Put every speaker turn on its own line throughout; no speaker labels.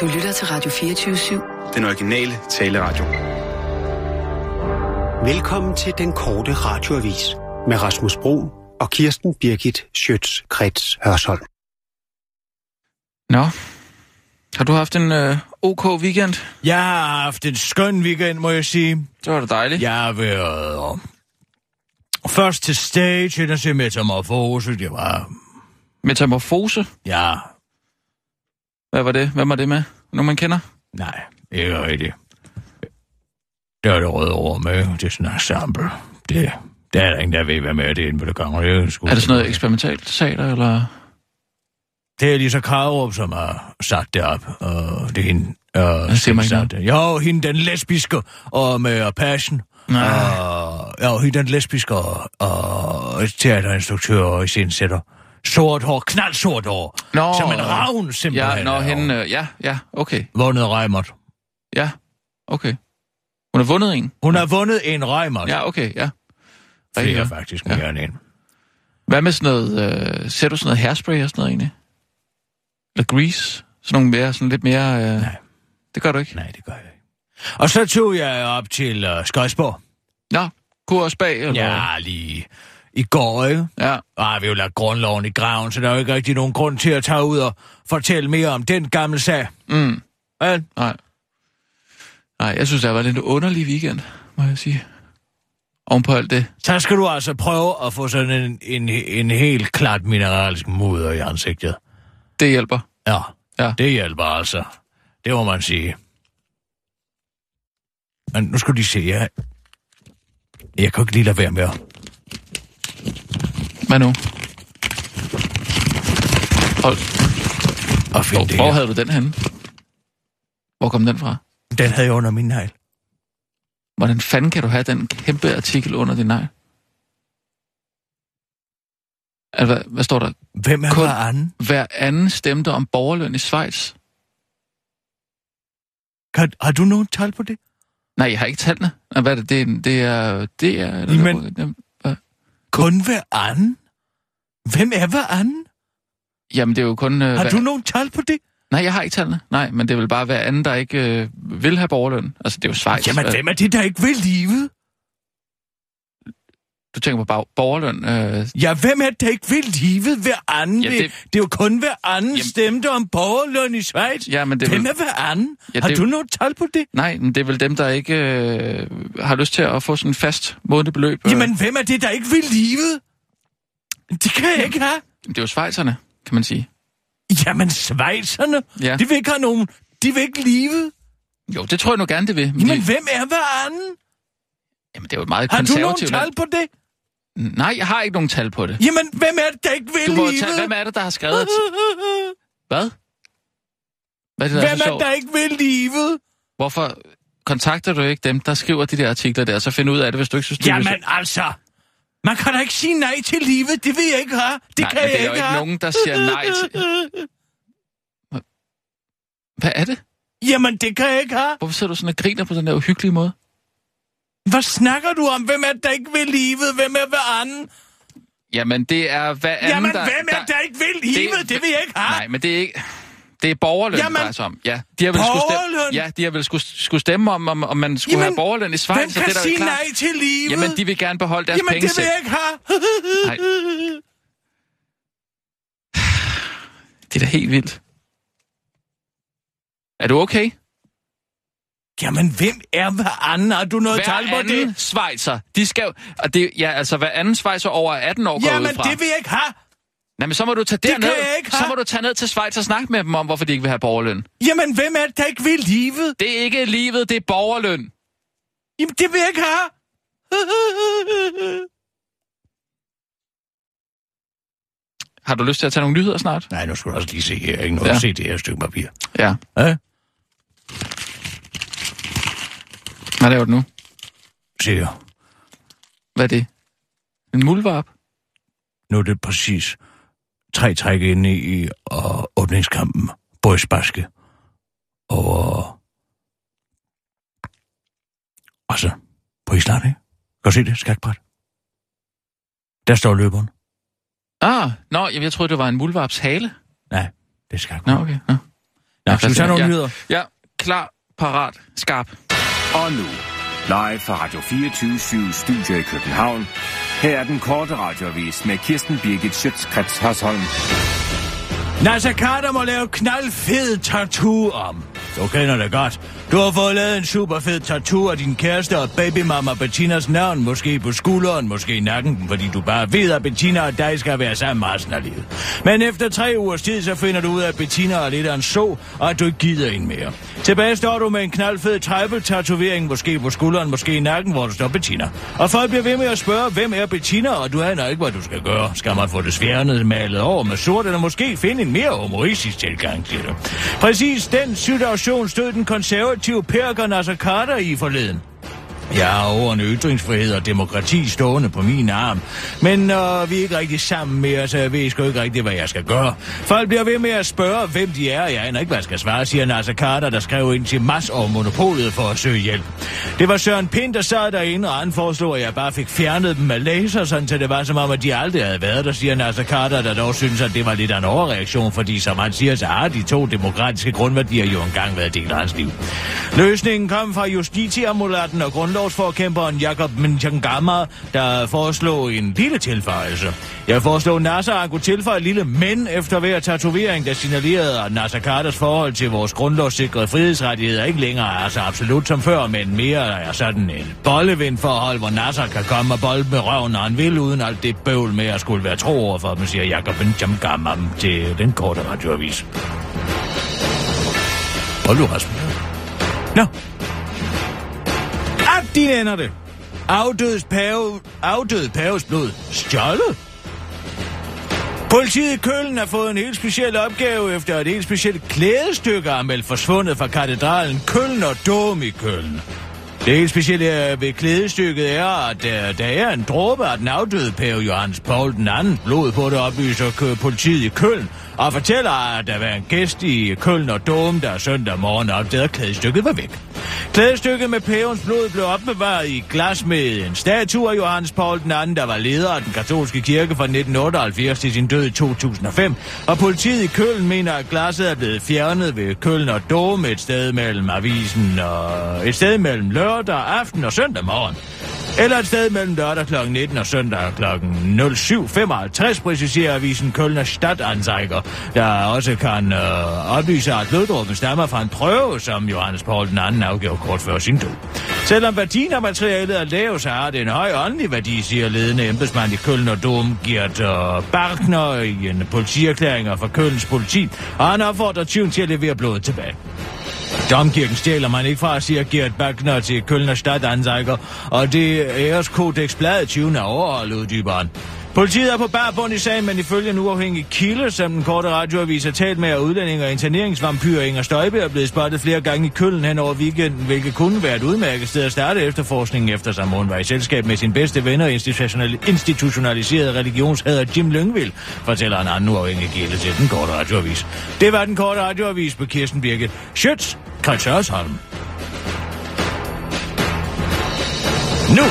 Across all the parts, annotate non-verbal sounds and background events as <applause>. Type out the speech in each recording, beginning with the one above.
Du lytter til Radio 24-7.
Den originale taleradio.
Velkommen til den korte radioavis med Rasmus Bro og Kirsten Birgit Schøtz-Krets Hørsholm.
Nå, har du haft en øh, OK weekend?
Jeg har haft en skøn weekend, må jeg sige.
Det var da dejligt.
Jeg har været øh, først til stage, ind og se metamorfose. Det var,
Metamorfose?
ja,
Hvad var det? Hvem var det med? Nogen man kender?
nej, ikke rigtigt. Det er det røde ord med, det er sådan en ensemble. Det, der er der ingen, der ved, hvad med det er inde på det kongelige
Er det sådan noget eksperimentalt teater, eller...
Det er Lisa Krarup, som har sat det op. Og det er hende.
siger
Og
man ikke
det. Jo, hende den lesbiske og med og passion.
Nej.
Og, jo, hende den lesbiske og, og teaterinstruktør og iscenesætter. Sort hår, knaldsort hår.
Nå,
som en ravn, simpelthen.
Ja, nå,
Og
hende, øh, ja, ja, okay,
Vundet Reimert.
ja, okay. Hun har vundet en?
Hun har vundet en Reimert.
Ja, okay, ja. Rigtig
Flere
godt.
faktisk
Ja.
mere end en.
Hvad med sådan noget, øh, ser du sådan noget hairspray og sådan noget egentlig? Eller grease? Sådan nogle mere, sådan lidt mere... Øh...
Nej.
Det gør du ikke?
Nej, det gør jeg ikke. Og så tog jeg op til uh, Skøjsborg.
Nå, kur og spag, eller...
Ja, lige i går, ikke?
ja.
Ah, vi har jo lagt grundloven i graven, så der er jo ikke rigtig nogen grund til at tage ud og fortælle mere om den gamle sag.
Mm.
Vel?
Nej. Nej, jeg synes, det har været en underlig weekend, må jeg sige. Oven på alt det.
Så skal du altså prøve at få sådan en, en, en helt klart mineralsk mudder i ansigtet.
Det hjælper.
Ja,
Ja.
det hjælper altså. Det må man sige. Men nu skal de se, jeg, jeg kan ikke lige lade være med at...
Hvad nu? Hold.
at finde
Hvor,
det
hvor
her.
havde du den henne? Hvor kom den fra?
Den havde jeg under min negl.
Hvordan fanden kan du have den kæmpe artikel under din nej? Altså, hvad, hvad står der?
Hvem er
Kun-
hver anden?
Hver anden stemte om borgerløn i Schweiz.
Kan, har du nogen tal på det?
Nej, jeg har ikke tallene. Nej, Hvad er det? Det er... Det er, det er
Jamen- Kun hver anden? Hvem er hver anden?
Jamen, det er jo kun... Øh,
Har
hver-
du nogen tal på det?
Nej, jeg har ikke tallene. Nej, men det er vel bare hver anden, der ikke øh, vil have borgerløn. Altså, det er jo Schweiz.
Jamen,
Hvad-
hvem er det, der ikke vil livet?
Du tænker på bare borgerløn. Øh,
Ja, hvem er det, der ikke vil livet? Hver anden
Ja,
ja, det...
det-
Vil. det er jo kun hver anden
Jamen-
Jamen... stemte om borgerløn i Schweiz.
ja, men det er
Hvem
vel,
er hver anden?
Ja,
Ja, har
det-
du nogen tal på det?
Nej, men det er vel dem, der ikke øh, har lyst til at få sådan et fast månedbeløb. øh.
Jamen, hvem er det, der ikke vil livet? Det kan jeg ikke have.
Det er jo Schweizerne, kan man sige.
Jamen, svejserne,
Ja.
ja. de vil ikke have nogen... De vil ikke livet.
Jo, det tror jeg nu gerne, det vil. Men
Jamen,
det,
hvem er hver anden?
jamen, det er jo et meget
Har du nogen
konservativt.
tal på det?
land. Nej, jeg har ikke nogen tal på det.
Jamen, hvem er det, der ikke vil
Du må jo
livet?
tage, hvem er det, der har skrevet... at-
Uhuh.
Hvad? Hvad er det, der
hvem
er så
er det,
sjovt?
der ikke vil livet?
Hvorfor kontakter du ikke dem, der skriver de der artikler der, så find ud af det, hvis du ikke synes, du
Jamen altså, man kan da ikke sige nej til livet, det vil jeg ikke have. Det
Nej,
kan
men
jeg
det er jo
ikke
ikke
have.
nogen, der siger nej til... Hvad er det?
<laughs> Jamen, det kan jeg ikke have.
Hvorfor sidder du sådan og griner på den der uhyggelige måde?
Hvad snakker du om? Hvem er det, der ikke vil livet? Hvem er hver anden?
Jamen, det er hvad anden,
Jamen,
der,
hvem er det, der ikke vil livet? Det, vil jeg ikke have.
Nej, men det er ikke... Det er borgerløn,
Jamen,
det drejer sig om. Ja, de har vel skulle stemme,
borgerløn?
ja, de har vel skulle, skulle stemme om, om, om man skulle
Jamen,
have borgerløn i Schweiz.
Hvem
og
kan
det er da jo
sige
klart.
nej til livet?
Jamen, de vil gerne beholde deres
Jamen
penge
det vil
selv.
jeg ikke have.
Nej. Det er da helt vildt. Er du okay?
<laughs> Jamen, hvem er hver anden? Har du noget
Hver
tal på det?
anden svejser, de skal jo... Og det, ja, altså, hver anden svejser over 18 år går
Jamen,
ud fra.
det vil jeg ikke have.
Nej, men så må du tage
Det kan
derned.
jeg ikke
så
have.
må du tage ned til Schweiz og snakke med dem om, hvorfor de ikke vil have borgerløn.
Jamen, hvem er det, der ikke vil livet?
Det er ikke livet, det er borgerløn.
Jamen, det vil jeg ikke have. <laughs>
Har du lyst til at tage nogle nyheder snart?
Nej, nu skal du også lige se her. Ikke noget
Ja.
ja. at se det her stykke papir.
Ja.
Ja.
Hvad laver du nu?
Se her.
Hvad er det? En muldvarp?
Nu er det præcis tre træk inde i og åbningskampen. Boris Baske. Og... Altså, på Island, ikke? Kan du se det? Skakbræt. Der står løberen.
Ah, nå, jamen, jeg troede, det var en muldvarps hale.
Nej, det er
Nå,
skakbræt.
okay. Nå.
Nå, skal vi tage nogle
ja.
nyheder?
Ja, klar, parat, skarp.
Og nu, live fra Radio 24 Studio i København. Her er den korte radiovis med Kirsten Birgit Schøtzgrads Hasholm.
Nasser Carter må lave knaldfed tattoo om. Du kender det godt. Du har fået lavet en super fed tattoo af din kæreste og babymama Bettinas navn, måske på skulderen, måske i nakken, fordi du bare ved, at Bettina og dig skal være sammen resten af livet. Men efter tre ugers tid, så finder du ud af, at Bettina er lidt af en så, og at du ikke gider en mere. Tilbage står du med en knaldfed tribal-tatovering, måske på skulderen, måske i nakken, hvor du står Bettina. Og folk bliver ved med at spørge, hvem er Bettina, og du aner ikke, hvad du skal gøre. Skal man få det sværnet malet over med sort, eller måske finde en mere humoristisk tilgang til det? Præcis den situation stod den konservative Perker Nasser Carter i forleden. Jeg har ordene ytringsfrihed og demokrati stående på min arm. Men øh, vi er ikke rigtig sammen mere, så jeg ved sgu ikke rigtig, hvad jeg skal gøre. Folk bliver ved med at spørge, hvem de er, og jeg aner ikke, hvad jeg skal svare, siger Nasser Carter, der skrev ind til Mas og Monopolet for at søge hjælp. Det var Søren Pind, der sad derinde, og han foreslog, at jeg bare fik fjernet dem med laser, sådan så det var som om, at de aldrig havde været der, siger Nasser Carter, der dog synes, at det var lidt af en overreaktion, fordi som han siger, så har de to demokratiske grundværdier jo engang været del af hans liv. Løsningen kom fra justitiamulatten og grundlovsforkæmperen Jakob Mnchangama, der foreslog en lille tilføjelse. Jeg foreslog Nasser at kunne tilføje et lille men efter hver tatovering, der signalerede, at Nasser Carters forhold til vores grundlovssikrede frihedsrettigheder ikke længere er så absolut som før, men mere er sådan et bollevindforhold, hvor Nasser kan komme og bolde med røven, når han vil, uden alt det bøvl med at skulle være tro over for dem, siger Jakob Mnchangama til den korte radioavis. Hold nu, Rasmus. Nå. At de ender det. Afdødes pave, afdød paves blod. Stjålet? Politiet i Køln har fået en helt speciel opgave efter et helt specielt klædestykke er meldt forsvundet fra katedralen Køln og Dom i Køln. Det helt specielle øh, ved klædestykket er, at øh, der er en dråbe af den afdøde pave Johannes Paul den anden blod på det, oplyser kø- politiet i Køln, og fortæller, at der var en gæst i Køln og Dom, der søndag morgen opdagede, at klædestykket var væk. Klædestykket med pavens blod blev opbevaret i glas med en statue af Johannes Paul den anden, der var leder af den katolske kirke fra 1978 til sin død i 2005, og politiet i Køln mener, at glasset er blevet fjernet ved Køln og Dom et sted mellem avisen og et sted mellem lørdag aften og søndag morgen. Eller et sted mellem lørdag kl. 19 og søndag kl. 07.55, præciserer avisen Kølner Stadtanzeiger, der også kan øh, oplyse, at bloddråben stammer fra en prøve, som Johannes Paul den anden afgav kort før sin død. Selvom værdien af materialet er lav, så har det en høj åndelig værdi, siger ledende embedsmand i Køln og Dom, Gert øh, Barkner, i en politierklæring fra Kølns politi, og han opfordrer tyven til at levere blodet tilbage. Domkirken stjæler man ikke fra, siger Gert Bagner til Kølner Stadtanzeiger, og det æreskodex bladet 20. er overholdt, uddyber han. Politiet er på barbund i sagen, men ifølge en uafhængig kilde, som den korte radioavis har talt med, at udlænding og interneringsvampyr Inger Støjbe er blevet spottet flere gange i Køln hen over weekenden, hvilket kunne være et udmærket sted at starte efterforskningen, eftersom hun var i selskab med sin bedste ven og institutionali- institutionaliserede religionshader Jim Lyngvild, fortæller en anden uafhængig kilde til den korte radioavis. Det var den korte radioavis på Kirsten Birke. Schøtz, Karl Sørsholm. Nu!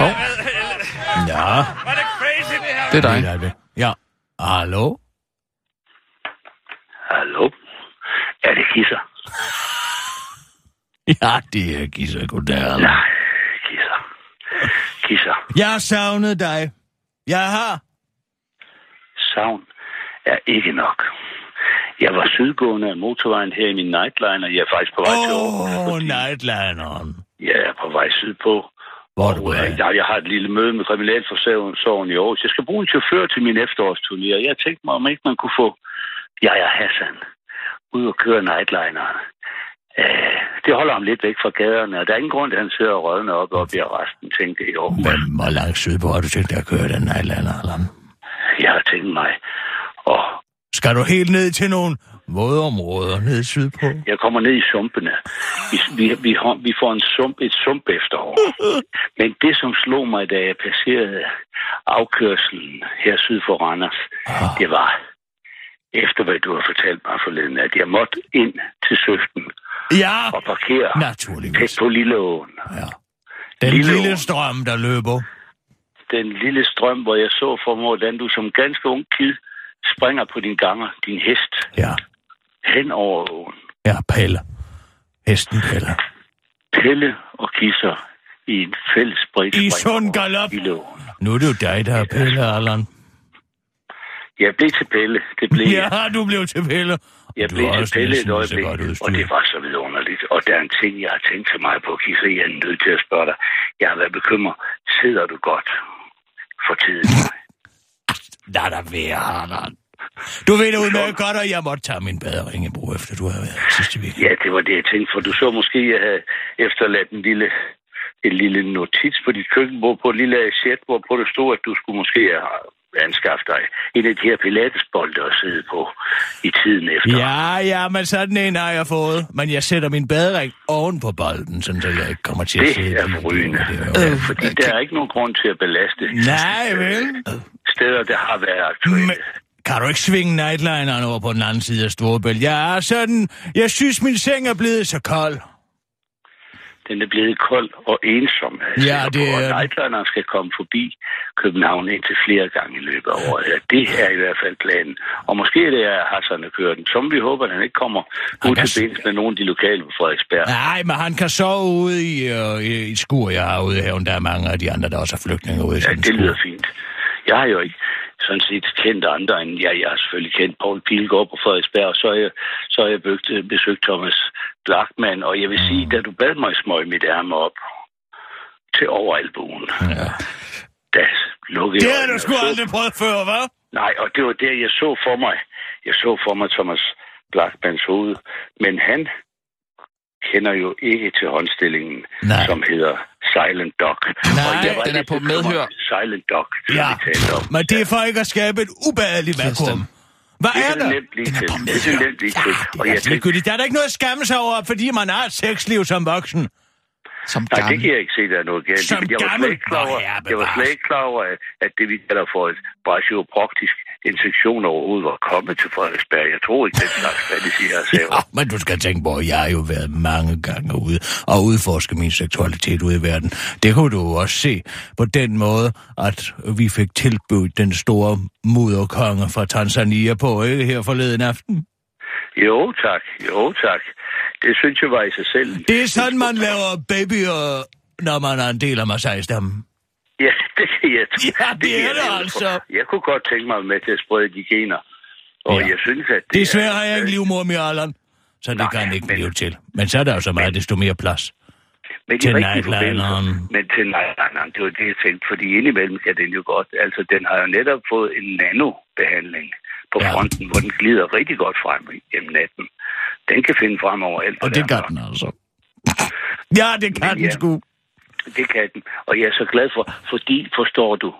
Hov,
Ja,
det er dig.
det er det. Ja. Hallo?
Hallo? Er det Kisser?
Ja, det er Gisse. Goddag. Allan.
Nej, Kisser. Kisser.
Jeg har savnet dig. Jeg har.
Savn er ikke nok. Jeg var sydgående af motorvejen her i min nightliner. Jeg er faktisk på vej til Aarhus.
Åh, oh,
fordi
Nightlineren.
Jeg er på vej sydpå.
Hvor er du
Og, øh,
af?
jeg, jeg har et lille møde med Kriminalforsorgen i Aarhus. Jeg skal bruge en chauffør til min efterårsturné, og jeg tænkte mig, om ikke man kunne få Jaja Hassan ud og køre nightlineren. Øh, det holder ham lidt væk fra gaderne, og der er ingen grund til, at han sidder og rødner op og bliver resten, tænkte jeg i Aarhus.
Hvem, hvor langt sydpå har du tænkt dig at køre den Nightlander, Allan?
Jeg har tænkt mig, og
Skal du helt ned til nogle vådområder ned sydpå?
jeg kommer ned i sumpene. Vi, vi, vi, har- vi får en sump, et sump efterår. Men det, som slog mig, da jeg passerede afkørselen her syd for Randers, det var, efter hvad du har fortalt mig forleden, at jeg måtte ind til Søften
Ja,
og parkere tæt
naturligvis.
på Lilleåen.
Ja. Den
Lille
lille, lille
Å.
strøm, der løber.
den lille strøm, hvor jeg så for mig, hvordan du som ganske ung kid springer på din ganger, din hest,
Ja,
hen over åen.
ja, Pelle. Hesten Pelle.
Pelle og kisser i en fælles bredt
I
spring
sund
over
galop.
hele åen.
Nu er det jo dig, der er Pelle, Allan.
Jeg blev til Pelle, det blev jeg.
Ja, du blev til Pelle.
Jeg
Du
blev
er
til
også
Pelle et
næsten lige så
øjeblik,
godt
og det
udstyret.
var så vidunderligt. Og der er en ting, jeg har tænkt så meget på, Kisser, jeg er nødt til at spørge dig. Jeg har været bekymret. Sidder du godt for
<laughs>
tiden?
Lad dig være, Allan. Du ved det udmærket godt, at jeg måtte tage min badering i brug, efter du har været her sidste weekend.
Ja, det var det, jeg tænkte, for du så måske, jeg havde efterladt en lille, en lille notits på dit køkkenbord, på et lille asset, hvorpå der stod, at du skulle måske have anskaffe dig en af de her pilatesbolde at sidde på i tiden efter.
Ja, ja, men sådan en har jeg fået. Men jeg sætter min badering oven på bolden, sådan så jeg ikke kommer til at
Det
sidde.
er
i-
forrygende.
Det Øh, er jo-
Ja, fordi der er ikke nogen grund til at belaste Øh,
Nej, vel?
steder, der har været aktuelle.
Men, kan du ikke svinge nightlineren over på den anden side af Storebælt? Jeg er sådan... Jeg synes, min seng er blevet så kold.
Den er blevet kold og ensom. er jeg
Ja,
sikker
det
på.
er den.
Og Nightlineren skal komme forbi København indtil flere gange i løbet af året. Ja, det er i hvert fald planen. Og måske er det er Hassan, der kører den. Som vi håber, at han ikke kommer ud
der-
til bens med nogen af de lokale på Frederiksberg.
Nej, men han kan sove ude i, øh, i et skur, jeg har ude i haven. Der er mange af de andre, der også er flygtninge ude i
Ja,
sådan et
det lyder
skur.
fint. Jeg har jo ikke sådan set kendt andre end jeg. Jeg har selvfølgelig kendt Paul Pilgaard på Frederiksberg, og så har jeg, så har jeg bøgt, besøgt Thomas Blackman. Og jeg vil sige,
Mm.
da du bad mig smøge mit ærme op til over albuen,
Ja.
da lukkede
Det
jeg
har du
øjnene
sgu
og så-
aldrig prøvet før, hva'?
Nej, og det var der, jeg så for mig. Jeg så for mig Thomas Blackmans hoved. Men han kender jo ikke til håndstillingen,
Nej.
som hedder Silent Dog.
Nej,
den er
lidt
på
bekymret.
medhør.
Silent Dog, som
Ja,
vi talte om.
men det er for ikke at skabe et ubadeligt vakuum. Hvad
Det
er
kan du
det?
nemt blive
Den er
til.
på
Det kan du
medhør.
nemt blive
Ja,
til.
det er
Og jeg
altså
tænker-
ligegyldigt. Der er da ikke noget at skamme sig over, fordi man har et sexliv som voksen.
Som
Nej, det
gammel.
kan jeg ikke se, der er noget galt. i,
Som
men jeg var
gammel?
slet ikke klar
Nå,
over,
herre
jeg var slet
bevares.
ikke klar over at- at det, vi kalder for et brachioproktisk infektion overhovedet var kommet til Frederiksberg. Jeg tror ikke, den slags fantasi har sager.
<laughs> Ja, men du skal tænke på, at jeg har jo været mange gange ude og udforske min seksualitet ude i verden. Det kunne du jo også se på den måde, at vi fik tilbudt den store mudderkonge fra Tanzania på, ikke her forleden aften.
Jo tak, jo tak. Det synes jeg var i sig selv.
Det er sådan, man laver babyer, når man er en del af Masai-stammen.
Ja, <laughs> det kan jeg tro.
Ja, det
kan
er
jeg
det
tro.
altså.
Jeg kunne godt tænke mig med til at sprede de gener. Og
Ja.
ja. jeg synes, at det
Desværre har jeg ikke livmor mere, Allan. Så det
Nej,
kan ikke
men-
blive til. Men så er der jo så meget, desto mere plads.
men de
til
rigtige
nightlineren.
forbindelser- Men til nightlineren, det var det, jeg tænkte. Fordi indimellem kan den jo godt. Altså, den har jo netop fået en nanobehandling på
Ja.
ja. fronten, hvor den glider rigtig godt frem gennem natten. Den kan finde frem over alt.
Og
hvad
det
der
kan
er.
den altså. <laughs> Ja, det kan
Men
den
ja.
sgu.
Det kan den. Og jeg er så glad for, fordi, forstår du,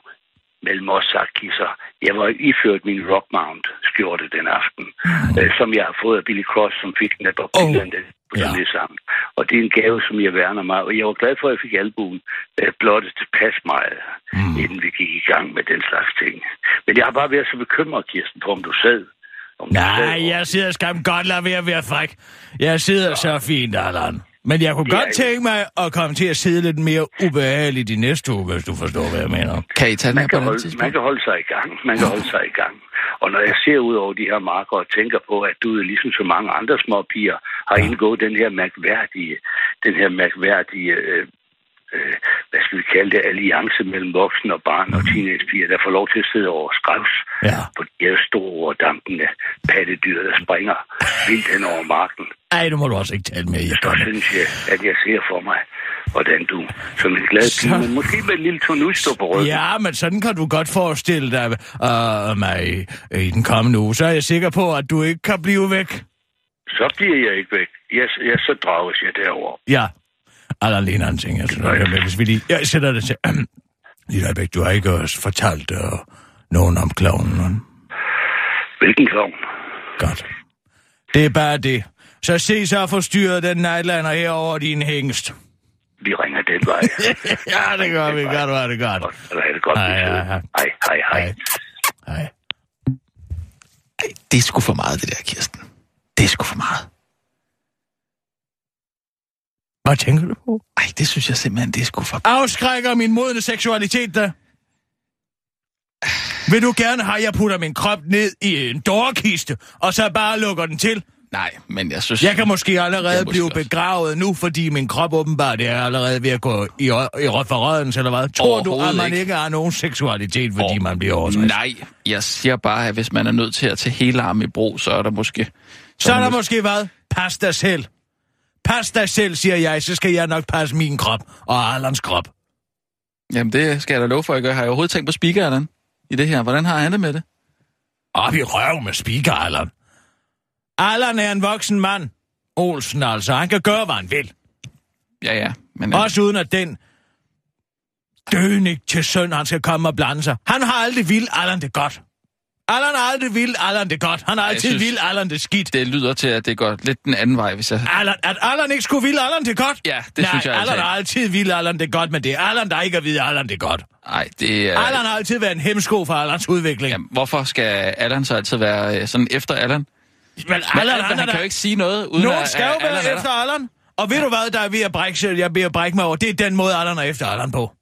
mellem os sagt, Kisser, jeg var iført min Rockmount skjorte den aften,
Ah.
øh, som jeg har fået af Billy Cross, som fik den af Bob
Oh.
Dylan, den
Ja.
ja. det sammen. Og det er en gave, som jeg værner mig, og jeg var glad for, at jeg fik albuen øh, blottet tilpas meget, mm. inden vi gik i gang med den slags ting. Men jeg har bare været så bekymret, Kirsten, på om du sad. Om du sad,
Nej, jeg sidder skam godt lade være ved at fræk. Jeg sidder så fint, Allan. Men jeg kunne
Ja,
godt
ja.
tænke mig at komme til at sidde lidt mere ubehageligt i næste uge, hvis du forstår, hvad jeg mener.
Kan I tage den her
Man
på et
kan,
andet
holde, man
tidspunkt?
kan holde sig i gang. Man kan holde sig i gang. Og når jeg ser ud over de her marker og tænker på, at du ligesom så mange andre små piger har ja. indgået den her mærkværdige, den her mærkværdige øh, øh, hvad skal vi kalde det, alliance mellem voksne og barn og teenagepiger, der får lov til at sidde over skrevs
Mm. Ja.
på de her store dampende pattedyr, der springer vildt hen over marken.
Ej, nu må du også ikke tale mere,
Så
Jørgen.
synes jeg, at jeg ser for mig, hvordan du som en glad
Så-
pige, men måske med en lille tornusto på ryggen.
Ja, men sådan kan du godt forestille dig øh, mig i den kommende uge. Så er jeg sikker på, at du ikke kan blive væk.
Så bliver jeg ikke væk. Jeg, jeg så drages jeg derover.
Ja. Aller lige en anden ting, jeg synes, jeg med, hvis vi lige... Jeg sætter det til... <clears throat> Lille Øjbæk, du har ikke også fortalt øh, nogen om klovnen.
Hvilken klovn?
Godt. Det er bare det. Så se så forstyrret den nightlander herover din hængst.
Vi ringer den vej.
<laughs> ja, det gør vi. Godt, var det godt.
Godt, så er det godt.
Hej,
vi sidder.
hej, hej.
hej, hej, hej.
Hej. Hej.
Det er sgu for meget, det der, Kirsten. Det er sgu for meget.
Hvad tænker du på?
Ej, det synes jeg simpelthen, det er sgu for...
Afskrækker min modne seksualitet da? Vil du gerne have, at jeg putter min krop ned i en dårkiste, og så bare lukker den til?
Nej, men jeg synes...
Jeg kan måske allerede
Jeg
måske
måske
blive
også.
begravet nu, fordi min krop åbenbart er allerede ved at gå i, rø- i rød for rødens, eller hvad? Tror du, at
Overhovedet
man
ikke.
ikke, har nogen seksualitet, fordi
Åh,
man bliver overtræst?
Nej, jeg siger bare, at hvis man er nødt til at tage hele armen i brug, så er der måske...
Så er der måske hvad? Pas dig selv. Pas dig selv, siger jeg, så skal jeg nok passe min krop og Allans krop.
Jamen, det skal jeg da love for, at jeg gør. Har jeg overhovedet tænkt på speakeren i det her? Hvordan har han det med det?
Op i røv med speaker, Allan. Allan er en voksen mand. Olsen altså, han kan gøre, hvad han vil.
Ja, ja. Men, øh,
Også uden at den dønig til søn, han skal komme og blande sig. Han har aldrig vil Allan det godt. Allan har aldrig vil Allan det godt. Han har
jeg
altid synes...
synes-
vil Allan det skidt.
det lyder til, at det går lidt den anden vej, hvis jeg...
Allan, at Allan ikke skulle ville Allan det godt?
Ja, det
Nej,
synes jeg altså
Allan har
ikke.
altid ville Allan det godt, men det er Allan, der ikke har videt Allan det godt.
Ah. Nej, det er...
Ja. Allan har altid været en hemsko for Allans udvikling.
Jamen, hvorfor skal Allan så altid være øh, sådan efter Allan?
Men
Allan,
Allan,
han, han
han, er
kan
da-
jo ikke sige noget, uden
Nogen
at,
skal jo
at
være
Allan er der.
efter Allan. Og ved du hvad, der er ved at brække, sig- jeg er ved at brække mig over? Det er den måde, Allan er efter Allan på.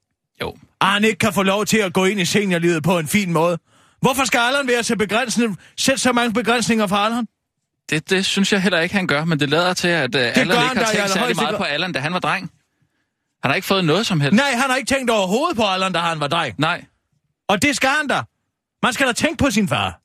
Jo,
At han ikke kan få lov til at gå ind i seniorlivet på en fin måde. Hvorfor skal Allan være så begrænsende, sætte så mange begrænsninger for Allan?
det, det synes jeg heller ikke, han gør, men det lader til, at uh, Allan
gør
ikke har
han da i
tænkt særlig
allerhøjeste
meget
grad.
på Allan, da han var dreng. Han har ikke fået noget som helst.
Nej, han har ikke tænkt overhovedet på Allan, da han var dreng.
Nej.
Og det skal han da. Man skal da tænke på sin far.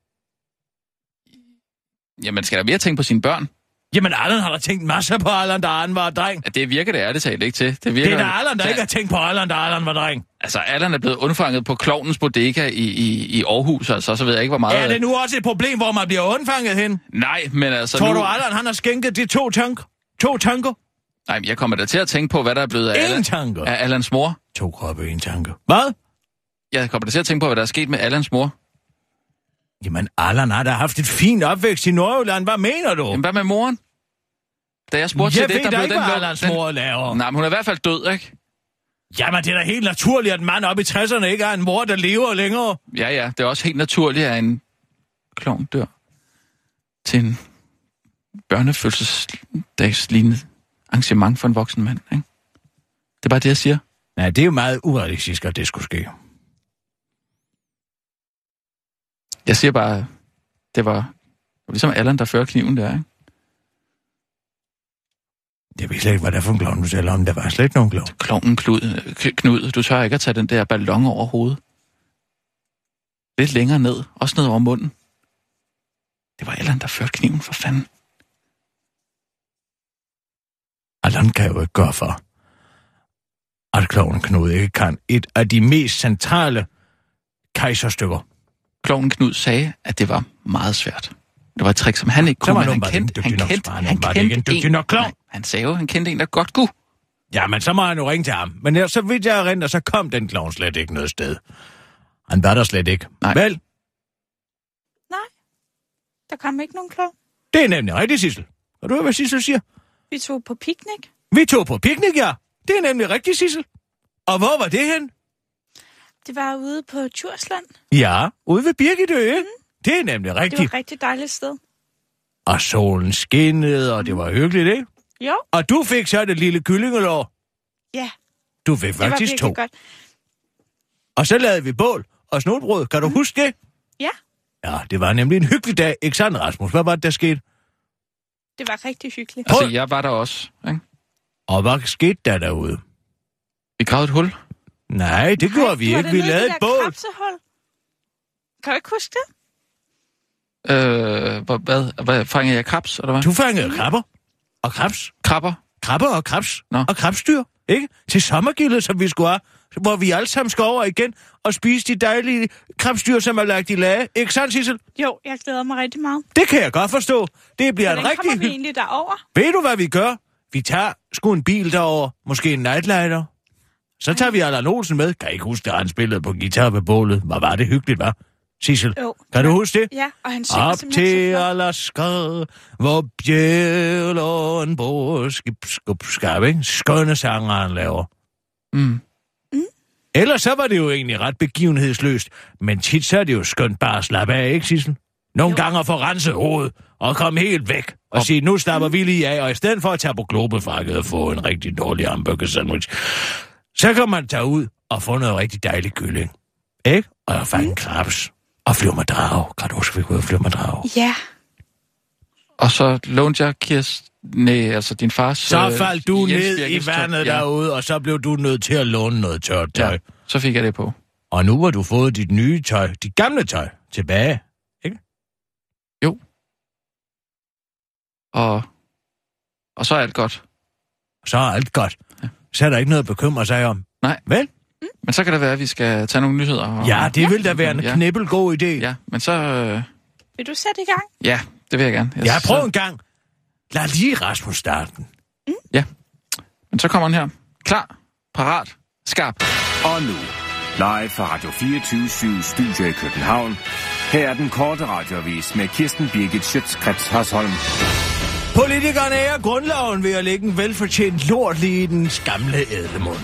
Jamen, skal der mere tænke på sine børn?
Jamen, Allan har da tænkt masser på Allan, da han var dreng.
Ja, det virker det ærligt talt ikke til. Det, virker,
Det er da Allan, der
Ja,
ikke har tænkt på Allan, da Allan var dreng.
Altså, Allan er blevet undfanget på Klovnens Bodega i, i, i Aarhus, altså, så ved jeg ikke, hvor meget...
Er det nu også et problem, hvor man bliver undfanget hen?
Nej, men altså
Tror
nu...
du, Allan han har skænket de to tanker? To tanker?
Nej, men jeg kommer da til at tænke på, hvad der er blevet af,
Ingen
Allan,
tanker.
af Allans mor.
To kroppe, en tanke. Hvad?
Jeg kommer da til at tænke på, hvad der er sket med Allans mor.
Jamen, Allan har da haft et fint opvækst i Nordjylland. Hvad mener du?
Jamen, hvad med moren? Da jeg spurgte
jeg
til det,
ved
der
da
blev
ikke,
den
hvad
lukket-
Allans
den-
mor laver.
Nej, men hun er i hvert fald død, ikke?
Jamen, det er da helt naturligt, at en mand oppe i 60'erne ikke har en mor, der lever længere.
Ja, ja, det er også helt naturligt, at en klovn dør til en børnefødselsdagslignende arrangement for en voksen mand, ikke? Det er bare det, jeg siger.
Nej, det er jo meget urealistisk, at det skulle ske.
Jeg siger bare, det var, det var ligesom Allan, der fører kniven der, ikke?
Jeg ved slet ikke, hvad det er for en klovn, du taler om. Der var slet ikke nogen klovn.
Klovnen Klud, øh, K- Knud, du tør ikke at tage den der ballon over hovedet. Lidt længere ned, også ned over munden. Det var Allan, der førte kniven, for fanden.
Allan kan jo ikke gøre for, at klovnen Knud ikke kan et af de mest centrale kejserstykker.
Klovnen Knud sagde, at det var meget svært. Det var et trick, som han ikke
Så
kunne,
var
men
nogen
han
bare ikke
kendte,
dygtig
han
nok,
kendte,
så var han
han
åbenbart ikke en
kendte
dygtig nok klovn.
Nej, han sagde jo, han kendte en, der godt kunne.
Jamen, så må han jo ringe til ham. Men så vidt jeg erindrer, så kom den klovn slet ikke noget sted. Han var der slet ikke.
Nej.
Vel,
Der kom ikke nogen klovn.
det er nemlig rigtigt, Sissel. Og du høre, hvad Sissel siger?
Vi tog på piknik.
Vi tog på picnic, ja. Det er nemlig rigtigt, Sissel. Og hvor var det hen?
Det var ude på Djursland.
Ja, ude ved Birgitø. Mm. Det er nemlig
Mhm. Det
rigtigt.
var et rigtig dejligt sted.
Og solen skinnede, og det var hyggeligt, ikke?
Jo,
Og du fik så det lille kyllingelår.
ja,
Du fik
det var
faktisk
virkelig
to.
godt.
Og så lavede vi bål og snobrød. Kan du
Mhm.
huske det?
Ja,
Ja, det var nemlig en hyggelig dag, ikke sandt, Rasmus? Hvad var det, der skete?
det var rigtig hyggeligt.
Altså,
Hul.
jeg var der også. Ikke?
Og hvad skete der derude?
Vi gravede et hul.
Nej, det gjorde vi
Du var
ikke.
dernede
Vi
i det
lavede et
der
bål.
Krabsehul. Kan du ikke huske det?
Øh, hvor- hvad, hvad, fangede jeg krebs, eller hvad?
Du fangede krabber. Og krebs.
Krabber.
Krabber og krebs.
Nå.
Og krebsdyr. Ikke? Til sommergildet, som vi skulle have. Hvor vi alle sammen skal over igen og spise de dejlige krebsdyr, som er lagt i lage. Ikke sandt, Sissel?
Jo, jeg glæder mig rigtig meget.
Det kan jeg godt forstå. Det bliver
Hvordan
en rigtig...
kommer vi
hyg-
egentlig derover?
Ved du, hvad vi gør? Vi tager sgu en bil derover, måske en nightlighter. Så tager vi Allan Olsen med. Kan I ikke huske, at han spillede på guitar ved bålet? Hvor var det hyggeligt, var? Sissel,
Jo.
kan du huske det?
Ja, og han synger
Op til
simpelthen så flot.
Alaska, hvor bjælåen bor, skib, skub, skab, ikke? Skønne sanger, han laver.
Mm.
Ellers så var det jo egentlig ret begivenhedsløst, men tit så er det jo skønt bare at slappe af, ikke Sissel? Nogle
Jo.
jo. gange at få renset hovedet og komme helt væk og sige, nu stapper vi lige af, og i stedet for at tage på globefakket og få en rigtig dårlig hamburger sandwich, så kan man tage ud og få noget rigtig dejlig kylling. Ikke? Og
Mm.
fanden klaps. Og flyver med drage. Kan du huske, vi kunne flyve med drage?
Ja.
Og så lånte jeg Kirsten, nej, altså din fars...
Så
øh,
faldt du
Jens
ned
Birkes
i
tøj.
vandet
ja,
derude, og så blev du nødt til at låne noget tørt tøj.
Ja, så fik jeg det på.
Og nu har du fået dit nye tøj, dit gamle tøj, tilbage.
Og, og så er alt godt.
Så er alt godt. Så er der ikke noget at bekymre sig om.
Men så kan det være, at vi skal tage nogle nyheder. Og,
Ja, det vil da være en
Ja.
knibbel god idé. Ja,
Ja, men så... Øh,
Vil du sætte i gang?
ja, det vil jeg gerne. Jeg,
ja prøv
Så,
en gang. Lad lige Rasmus starte den.
men så kommer den her. Klar, parat, skarp.
Og nu, live fra Radio 24 Studio i København. Her er den korte radiovis med Kirsten Birgit Schøtzgrads Hasholm.
Politikerne ærer grundloven ved at lægge en velfortjent lort lige i den gamle ædelmund.